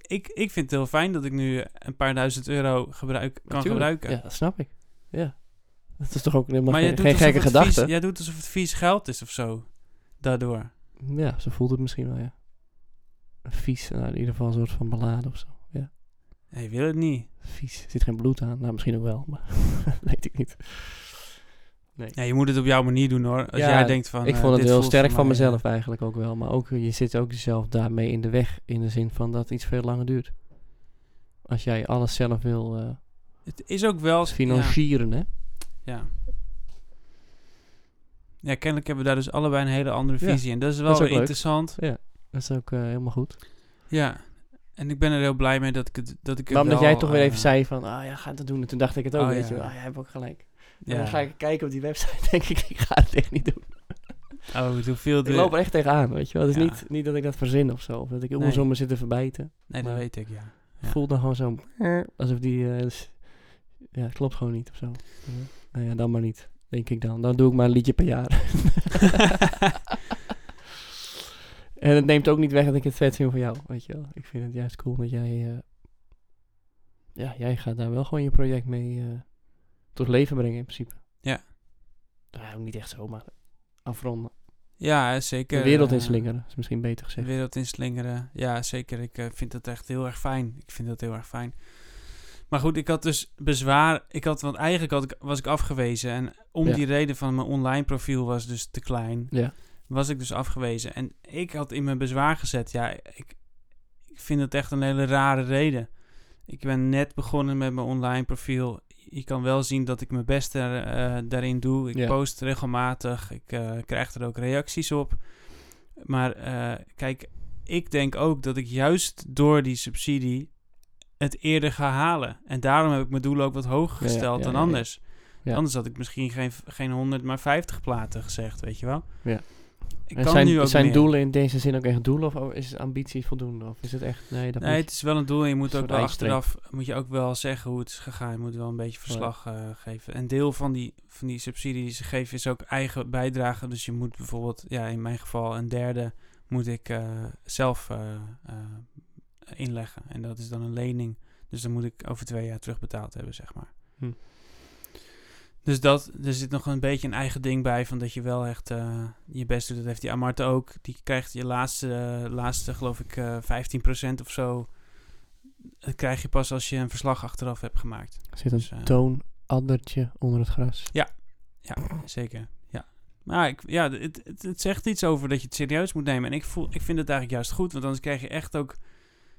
Speaker 1: Ik, ik vind het heel fijn dat ik nu een paar duizend euro gebruik, kan
Speaker 2: Natuurlijk.
Speaker 1: gebruiken.
Speaker 2: Ja, dat snap ik. Ja. Dat is toch ook helemaal
Speaker 1: maar jij
Speaker 2: geen,
Speaker 1: doet,
Speaker 2: geen
Speaker 1: alsof
Speaker 2: gekke
Speaker 1: het vies-
Speaker 2: gedachte?
Speaker 1: jij doet alsof het vies geld is of zo. Daardoor.
Speaker 2: Ja, zo voelt het misschien wel, ja. Vies, nou, in ieder geval een soort van beladen of zo. Ja,
Speaker 1: Hij wil het niet.
Speaker 2: vies. Er zit geen bloed aan. Nou, misschien ook wel, maar weet ik niet.
Speaker 1: Ja, je moet het op jouw manier doen hoor. Als
Speaker 2: Ja,
Speaker 1: jij denkt van.
Speaker 2: ik
Speaker 1: eh,
Speaker 2: vond het
Speaker 1: dit
Speaker 2: heel
Speaker 1: voelt
Speaker 2: sterk
Speaker 1: voor
Speaker 2: van
Speaker 1: mij, eh,
Speaker 2: mezelf eigenlijk ook wel. Maar ook, eh, je zit ook jezelf daarmee in de weg. In de zin van dat iets veel langer duurt. Als jij alles zelf wil eh,
Speaker 1: Het is ook wel. Ja,
Speaker 2: financieren, hè.
Speaker 1: ja. Ja, kennelijk hebben we daar dus allebei een hele andere
Speaker 2: Ja,
Speaker 1: visie in. Dat is wel
Speaker 2: is ook
Speaker 1: weer
Speaker 2: leuk.
Speaker 1: interessant.
Speaker 2: Dat is ook eh, helemaal goed.
Speaker 1: Ja. En ik ben er heel blij mee dat ik het. Dat ik het
Speaker 2: Maar omdat
Speaker 1: wel,
Speaker 2: jij toch weer
Speaker 1: eh,
Speaker 2: even zei van... Ah ja, ga dat doen. En toen dacht ik het ook,
Speaker 1: Oh,
Speaker 2: weet
Speaker 1: ja.
Speaker 2: je wel. Ah, jij hebt ook gelijk.
Speaker 1: Ja.
Speaker 2: En dan ga ik kijken op die website. denk ik, ik ga het echt niet doen.
Speaker 1: Oh, hoeveel
Speaker 2: Ik loop er echt tegenaan, weet je wel. Het is
Speaker 1: Ja.
Speaker 2: niet, niet dat ik dat verzin of zo. Of dat ik
Speaker 1: Nee.
Speaker 2: nee. om me zit te verbijten.
Speaker 1: Nee, dat
Speaker 2: Maar-
Speaker 1: weet ik, ja. Ja.
Speaker 2: Voel dan gewoon zo... Alsof die... eh, s- ja, het klopt gewoon niet of zo. Nou ja, dan maar niet. Denk ik dan. Dan doe ik maar een liedje per jaar. en het neemt ook niet weg dat ik het vet vind van jou, weet je wel. Ik vind het juist cool dat jij... eh, ja, jij gaat daar wel gewoon je project mee eh, tot leven brengen in principe.
Speaker 1: Ja.
Speaker 2: Nou, niet echt zo, maar afronden.
Speaker 1: ja, zeker.
Speaker 2: De wereld
Speaker 1: eh,
Speaker 2: inslingeren is misschien
Speaker 1: De
Speaker 2: beter gezegd.
Speaker 1: wereld inslingeren. Ja, zeker. Ik eh, vind dat echt heel erg fijn. Ik vind dat heel erg fijn. Maar goed, ik had dus bezwaar. Ik had, want eigenlijk had ik, was ik afgewezen. En om
Speaker 2: Ja.
Speaker 1: die reden van mijn online profiel was dus te klein.
Speaker 2: Ja.
Speaker 1: Was ik dus afgewezen. En ik had in mijn bezwaar gezet. Ja, ik, ik vind dat echt een hele rare reden. Ik ben net begonnen met mijn online profiel. Je kan wel zien dat ik mijn best daar- eh, daarin doe. Ik
Speaker 2: Ja.
Speaker 1: post regelmatig. Ik eh, krijg er ook reacties op. Maar eh, kijk, ik denk ook dat ik juist door die subsidie het eerder ga halen. En daarom heb ik mijn doel ook wat hoger
Speaker 2: Ja, ja,
Speaker 1: gesteld
Speaker 2: ja,
Speaker 1: dan
Speaker 2: ja, ja.
Speaker 1: anders.
Speaker 2: Ja.
Speaker 1: Anders had ik misschien geen, geen 100, maar 50 platen gezegd, weet je wel.
Speaker 2: Ja.
Speaker 1: Ik
Speaker 2: En
Speaker 1: kan
Speaker 2: zijn
Speaker 1: nu ook
Speaker 2: zijn
Speaker 1: meer.
Speaker 2: doelen in deze zin ook echt doelen? Of oh, is het ambitie voldoende? Of is het echt... Nee, dat
Speaker 1: Nee,
Speaker 2: moet
Speaker 1: het is wel een doel. en Je moet
Speaker 2: Een
Speaker 1: ook
Speaker 2: soort
Speaker 1: wel
Speaker 2: eindstreep.
Speaker 1: achteraf moet je ook wel zeggen hoe het is gegaan. Je moet wel een beetje verslag eh, geven. Een deel van die, van die subsidie die ze geven is ook eigen bijdrage. Dus je moet bijvoorbeeld, ja, in mijn geval een derde moet ik eh, zelf eh, eh, inleggen. En dat is dan een lening. Dus dan moet ik over twee jaar terugbetaald hebben, zeg maar.
Speaker 2: Hm.
Speaker 1: Dus dat, er zit nog een beetje een eigen ding bij van dat je wel echt eh, je best doet. Dat heeft die Amarte ook. Die krijgt je laatste, eh, laatste geloof ik, eh 15% of zo. Dat krijg je pas als je een verslag achteraf hebt gemaakt.
Speaker 2: Er Zit een
Speaker 1: Dus, eh,
Speaker 2: toonaddertje onder het gras.
Speaker 1: Zeker, ja. Maar ik, ja, het, het, het zegt iets over dat je het serieus moet nemen. En ik, voel, ik vind het eigenlijk juist goed, want anders krijg je echt ook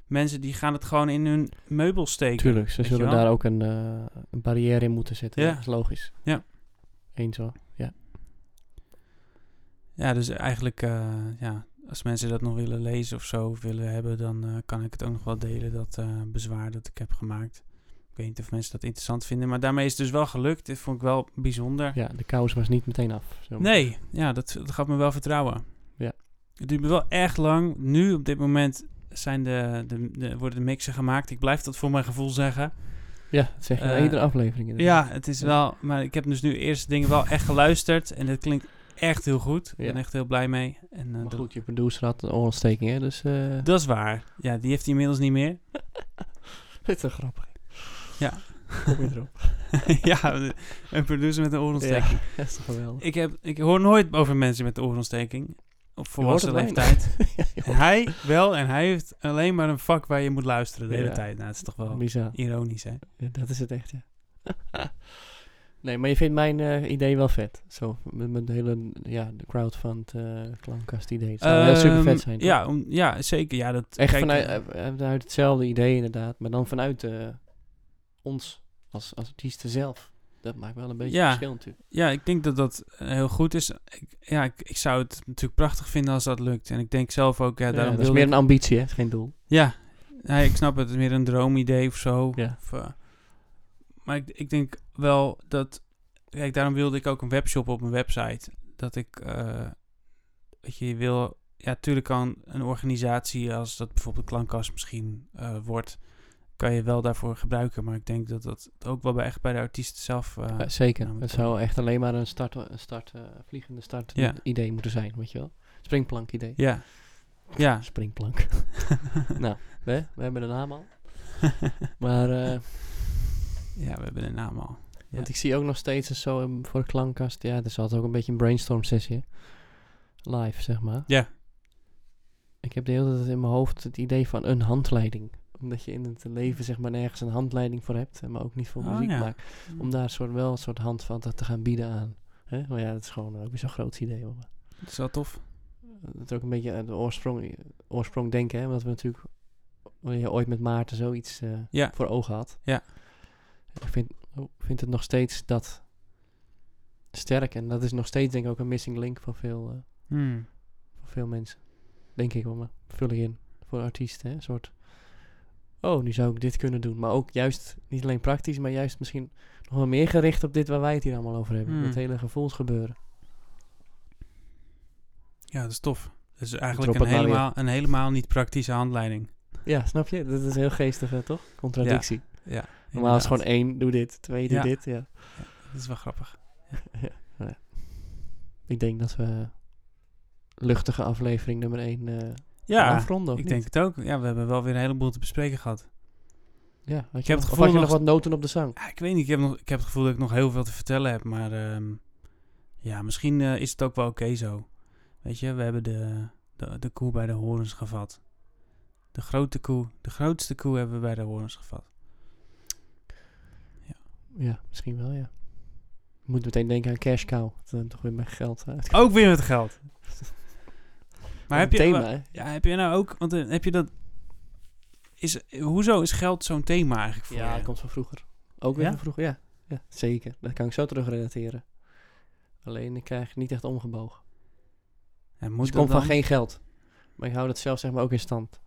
Speaker 1: mensen die gaan het gewoon in hun meubel steken.
Speaker 2: Tuurlijk, ze
Speaker 1: weet je
Speaker 2: zullen
Speaker 1: wel.
Speaker 2: daar ook een, eh, een barrière in moeten zetten.
Speaker 1: Ja.
Speaker 2: Ja. Dat is logisch.
Speaker 1: Ja.
Speaker 2: Eens hoor. Ja.
Speaker 1: Ja, dus eigenlijk, eh, ja, als mensen dat nog willen lezen of zo, of willen hebben, dan eh, kan ik het ook nog wel delen, dat eh, bezwaar dat ik heb gemaakt. Ik weet niet of mensen dat interessant vinden, maar daarmee is het dus wel gelukt. Dit vond ik wel bijzonder.
Speaker 2: ja, de kous was niet meteen af. zullen we
Speaker 1: Nee, ja, dat, dat gaf me wel vertrouwen.
Speaker 2: Ja.
Speaker 1: Het duurt me wel echt lang. Nu, op dit moment, zijn de, de, de- worden de mixen gemaakt. Ik blijf dat voor mijn gevoel zeggen.
Speaker 2: Ja, dat zeg je
Speaker 1: Eh,
Speaker 2: in iedere aflevering.
Speaker 1: Ja,
Speaker 2: inderdaad.
Speaker 1: het is
Speaker 2: Ja.
Speaker 1: wel... Maar ik heb dus nu eerst dingen wel echt geluisterd. En dat klinkt echt heel goed. Ik
Speaker 2: Ja.
Speaker 1: ben echt heel blij mee. En, eh,
Speaker 2: Maar
Speaker 1: dat-
Speaker 2: goed, je producer had een oorontsteking, hè? Dus eh,
Speaker 1: Dat is waar. Ja, die heeft hij inmiddels niet meer.
Speaker 2: dat is wel grappig.
Speaker 1: Ja.
Speaker 2: Kom je erop.
Speaker 1: ja, een producer met een oorontsteking.
Speaker 2: Ja, dat is toch geweldig.
Speaker 1: Ik, heb, ik hoor nooit over mensen met een oorontsteking. Op volwassen
Speaker 2: het
Speaker 1: leeftijd.
Speaker 2: ja,
Speaker 1: En hij wel. En hij heeft alleen maar een vak waar je moet luisteren de hele
Speaker 2: Ja.
Speaker 1: tijd. Nou, het is toch wel...
Speaker 2: joh. Bizar.
Speaker 1: Ironisch, hè?
Speaker 2: Ja, dat is het echt, ja. nee, maar je vindt mijn eh, idee wel vet. Zo, met, met de hele ja, de crowdfund eh klankkast idee. Het zou wel super vet zijn. toch?
Speaker 1: Ehm, Ja, om, ja, zeker. Ja, dat,
Speaker 2: Echt
Speaker 1: kijk,
Speaker 2: vanuit,
Speaker 1: eh,
Speaker 2: eh, vanuit hetzelfde idee inderdaad, maar dan vanuit eh, ons als, als artiesten zelf. dat maakt wel een beetje
Speaker 1: Ja.
Speaker 2: verschil natuurlijk.
Speaker 1: Ja, ik denk dat dat eh, heel goed is. Ik, ja, ik, ik zou het natuurlijk prachtig vinden als dat lukt. En ik denk zelf ook, ja,
Speaker 2: Ja,
Speaker 1: daarom
Speaker 2: dat is
Speaker 1: wilde
Speaker 2: meer
Speaker 1: ik-
Speaker 2: een ambitie, hè? Het is geen doel.
Speaker 1: Ja, nee, ik snap het. Het is meer een droomidee of zo.
Speaker 2: Ja.
Speaker 1: Of, eh, maar ik, ik denk wel dat... Kijk, daarom wilde ik ook een webshop op mijn website. Dat ik... eh weet je, je wil... Ja, tuurlijk kan een organisatie als dat bijvoorbeeld Klankkast misschien eh, wordt... kan je wel daarvoor gebruiken. Maar ik denk dat dat ook wel bij, echt bij de artiest zelf... eh,
Speaker 2: Ja, zeker.
Speaker 1: nou,
Speaker 2: het
Speaker 1: dat-
Speaker 2: zou echt alleen maar een, start, een start, eh, vliegende start
Speaker 1: Ja.
Speaker 2: idee moeten zijn, weet je wel. Springplank idee.
Speaker 1: ja. Ja.
Speaker 2: Springplank. nou, we, we hebben de naam al. Maar, eh,
Speaker 1: ja, we hebben de naam al.
Speaker 2: want ik zie ook nog steeds een zo een- voor de klankkast. Ja, dat is altijd ook een beetje een brainstorm sessie. hè. Live, zeg maar.
Speaker 1: Ja.
Speaker 2: Ik heb de hele tijd in mijn hoofd het idee van een handleiding. Omdat je in het leven zeg maar nergens een handleiding voor hebt. eh, Maar ook niet voor
Speaker 1: Oh,
Speaker 2: muziek
Speaker 1: ja.
Speaker 2: maken. Om daar soort, wel een soort hand van te, te gaan bieden aan. Hè? Maar ja, dat is gewoon ook weer zo'n groot idee. Hoor.
Speaker 1: Dat is wel tof.
Speaker 2: dat is ook een beetje aan de oorsprong, oorsprong denken, hè? Want we natuurlijk we je ooit met Maarten zoiets eh,
Speaker 1: Ja.
Speaker 2: voor ogen had.
Speaker 1: Ja.
Speaker 2: Ik vind, oh, ik vind het nog steeds dat sterk. En dat is nog steeds denk ik ook een missing link voor veel, eh,
Speaker 1: Hmm.
Speaker 2: voor veel mensen. Denk ik hoor, maar vul ik in. Voor artiesten, hè? Een soort... Oh, nu zou ik dit kunnen doen. Maar ook juist, niet alleen praktisch, maar juist misschien nog wel meer gericht op dit waar wij het hier allemaal over hebben.
Speaker 1: Hmm.
Speaker 2: Het hele gevoelsgebeuren.
Speaker 1: Ja, dat is tof. Dat is
Speaker 2: Drop
Speaker 1: eigenlijk
Speaker 2: het
Speaker 1: een
Speaker 2: maar weer.
Speaker 1: helemaal, een helemaal niet praktische handleiding.
Speaker 2: Ja, snap je? Dat is heel geestig, hè, toch? Contradictie.
Speaker 1: Ja,
Speaker 2: Normaal is
Speaker 1: inderdaad.
Speaker 2: het gewoon één, doe dit. Twee, doe
Speaker 1: Ja.
Speaker 2: dit. Ja.
Speaker 1: Dat is wel grappig.
Speaker 2: Ik denk dat we luchtige aflevering nummer één eh, gaan
Speaker 1: Ja,
Speaker 2: afronden, of
Speaker 1: ik
Speaker 2: niet?
Speaker 1: denk het ook. Ja, we hebben wel weer een heleboel te bespreken gehad.
Speaker 2: Ja, had je
Speaker 1: heb het
Speaker 2: nog, of
Speaker 1: gevoel
Speaker 2: had je nog
Speaker 1: nog-
Speaker 2: wat noten op de zang?
Speaker 1: Ja, ik weet niet, ik heb, nog, ik heb het gevoel dat ik nog heel veel te vertellen heb, maar ehm, ja, misschien eh, is het ook wel oké zo. Weet je, we hebben de, de, de koe bij de horens gevat. De grote koe, de grootste koe hebben we bij de horens gevat.
Speaker 2: Ja, misschien wel, ja. Ik moet meteen denken aan Cash Cow. Dat dan toch weer mijn geld uit.
Speaker 1: Ook weer met geld. Oh, Maar
Speaker 2: Een
Speaker 1: heb je,
Speaker 2: thema, hè?
Speaker 1: Ja, heb je nou ook, want eh, heb je dat, is, hoezo is geld zo'n thema eigenlijk voor
Speaker 2: Ja,
Speaker 1: je?
Speaker 2: dat komt van vroeger. Ook weer
Speaker 1: Ja?
Speaker 2: van vroeger, ja. ja. Zeker, dat kan ik zo terug relateren. Alleen ik krijg het niet echt omgebogen.
Speaker 1: En
Speaker 2: Dus
Speaker 1: moet
Speaker 2: het komt
Speaker 1: dat
Speaker 2: van
Speaker 1: dan?
Speaker 2: geen geld. Maar ik hou dat zelf zeg maar ook in stand.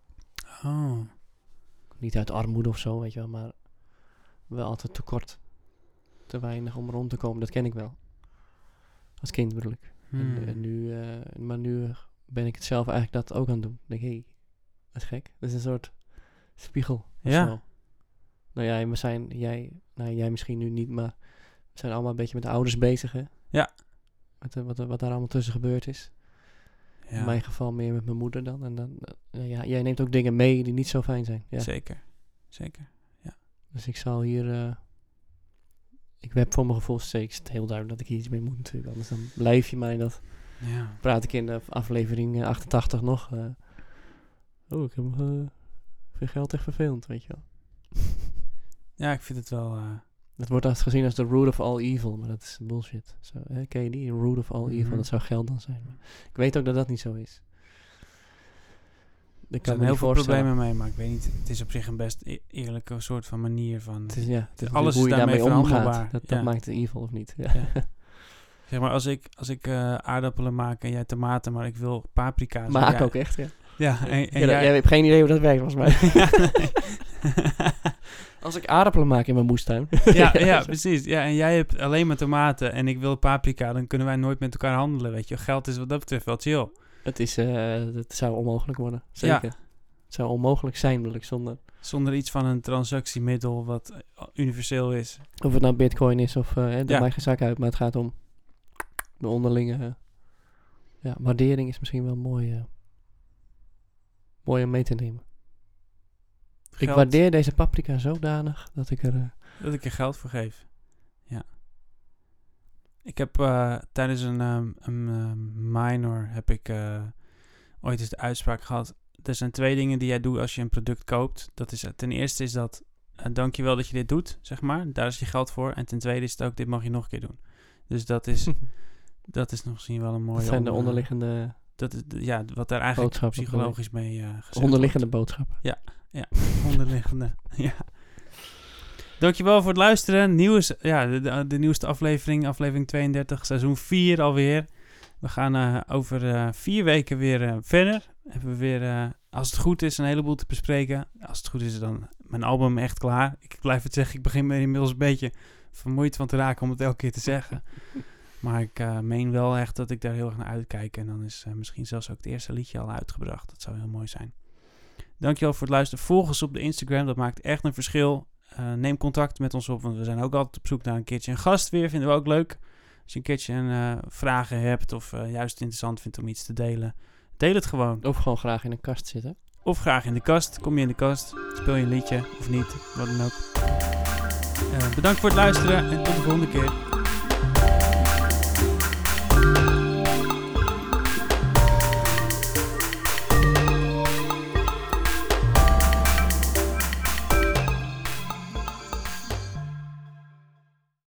Speaker 1: Oh.
Speaker 2: niet uit armoede of zo, weet je wel, maar wel altijd tekort. Te weinig om rond te komen, dat ken ik wel. Als kind bedoel ik. En,
Speaker 1: Hmm.
Speaker 2: en nu, eh, maar nu eh, ben ik het zelf eigenlijk dat ook aan het doen. Ik denk, hé, dat is gek. Dat is een soort spiegel. of
Speaker 1: Ja.
Speaker 2: zo. Nou ja, we zijn, jij, nou jij misschien nu niet, maar we zijn allemaal een beetje met de ouders bezig, hè?
Speaker 1: Ja.
Speaker 2: Met, eh, wat, er- wat daar allemaal tussen gebeurd is.
Speaker 1: ja,
Speaker 2: In mijn geval meer met mijn moeder dan. En dan, eh, ja, jij neemt ook dingen mee die niet zo fijn zijn. Ja.
Speaker 1: zeker. Zeker.
Speaker 2: Dus ik zal hier. eh, ik heb voor mijn gevoel steeds heel duidelijk dat ik hier iets mee moet natuurlijk. Anders dan blijf je mij dat.
Speaker 1: Ja.
Speaker 2: Praat ik in de aflevering eh, 88 nog. eh, oh, ik heb eh, veel geld echt vervelend, weet je wel.
Speaker 1: ja, ik vind het wel... eh,
Speaker 2: Dat wordt als gezien als de root of all evil, maar dat is bullshit. Zo, hè, ken je die? Root of all evil,
Speaker 1: Mhm.
Speaker 2: dat zou geld dan zijn. Maar ik weet ook dat dat niet zo is. Ik
Speaker 1: er zijn heel veel problemen mee, maar ik weet niet. Het is op zich een best e- eerlijke soort van manier van...
Speaker 2: Het is, ja, het is
Speaker 1: Alles
Speaker 2: hoe
Speaker 1: is
Speaker 2: je daarmee,
Speaker 1: daarmee
Speaker 2: omgaat.
Speaker 1: verhandelbaar,
Speaker 2: Dat, dat
Speaker 1: ja.
Speaker 2: maakt het evil of niet. Ja.
Speaker 1: Zeg maar, als ik, als ik eh, aardappelen maak en jij tomaten, maar ik wil paprika's... en
Speaker 2: Maak
Speaker 1: jij-
Speaker 2: ook echt, ja.
Speaker 1: Ja, en, en
Speaker 2: ja, dat-
Speaker 1: jij...
Speaker 2: jij hebt geen idee hoe dat werkt, volgens mij.
Speaker 1: Ja,
Speaker 2: Als ik aardappelen maak in mijn moestuin.
Speaker 1: ja, ja,
Speaker 2: zo.
Speaker 1: precies. Ja, en jij hebt alleen maar tomaten en ik wil paprika, dan kunnen wij nooit met elkaar handelen, weet je. Geld is wat dat betreft wel chill.
Speaker 2: Het, is, eh, het zou onmogelijk worden. Zeker. Het zou onmogelijk zijn, bedoel ik, zonder.
Speaker 1: Zonder iets van een transactiemiddel wat eh, universeel is.
Speaker 2: Of het nou bitcoin is of. eh, hè, dat
Speaker 1: Ja.
Speaker 2: maakt geen zak uit, maar het gaat om de onderlinge. eh, ja, waardering is misschien wel mooi. eh, mooi om mee te nemen. Ik
Speaker 1: Geld,
Speaker 2: waardeer deze paprika zodanig dat ik er. eh,
Speaker 1: Dat ik er geld voor geef. Ja. Ik heb eh, tijdens een, ehm, een ehm, minor heb ik eh, ooit eens de uitspraak gehad. Er zijn twee dingen die jij doet als je een product koopt. Dat is, eh, ten eerste is dat eh, dankjewel dat je dit doet, zeg maar. Daar is je geld voor. En ten tweede is het ook dit mag je nog een keer doen. Dus dat is, dat is nog misschien wel een mooie...
Speaker 2: dat zijn de
Speaker 1: onder-
Speaker 2: onderliggende, Oh,
Speaker 1: Dat is, de- ja, wat daar eigenlijk
Speaker 2: Boodschappen,
Speaker 1: psychologisch mee eh gezegd wordt.
Speaker 2: onderliggende boodschappen.
Speaker 1: onderliggende. ja. Dankjewel voor het luisteren. Nieuws, ja, de, de, de nieuwste aflevering, aflevering 32, seizoen 4 alweer. We gaan eh, over eh, vier weken weer eh, verder. Hebben we weer, eh, als het goed is, een heleboel te bespreken. Als het goed is, dan mijn album echt klaar. Ik blijf het zeggen, ik begin me inmiddels een beetje vermoeid van te raken om het elke keer te zeggen. Maar ik eh, meen wel echt dat ik daar heel erg naar uitkijk. En dan is eh, misschien zelfs ook het eerste liedje al uitgebracht. Dat zou heel mooi zijn. Dankjewel voor het luisteren. Volg ons op de Instagram. Dat maakt echt een verschil. Eh, neem contact met ons op, want we zijn ook altijd op zoek naar een keertje een gast weer. Vinden we ook leuk. Als je een keertje een, eh, vragen hebt of eh, juist interessant vindt om iets te delen, deel het gewoon.
Speaker 2: Of gewoon graag in een kast zitten.
Speaker 1: Of graag in de kast. Kom je in de kast, speel je een liedje of niet, wat dan ook. Eh, bedankt voor het luisteren en tot de volgende keer.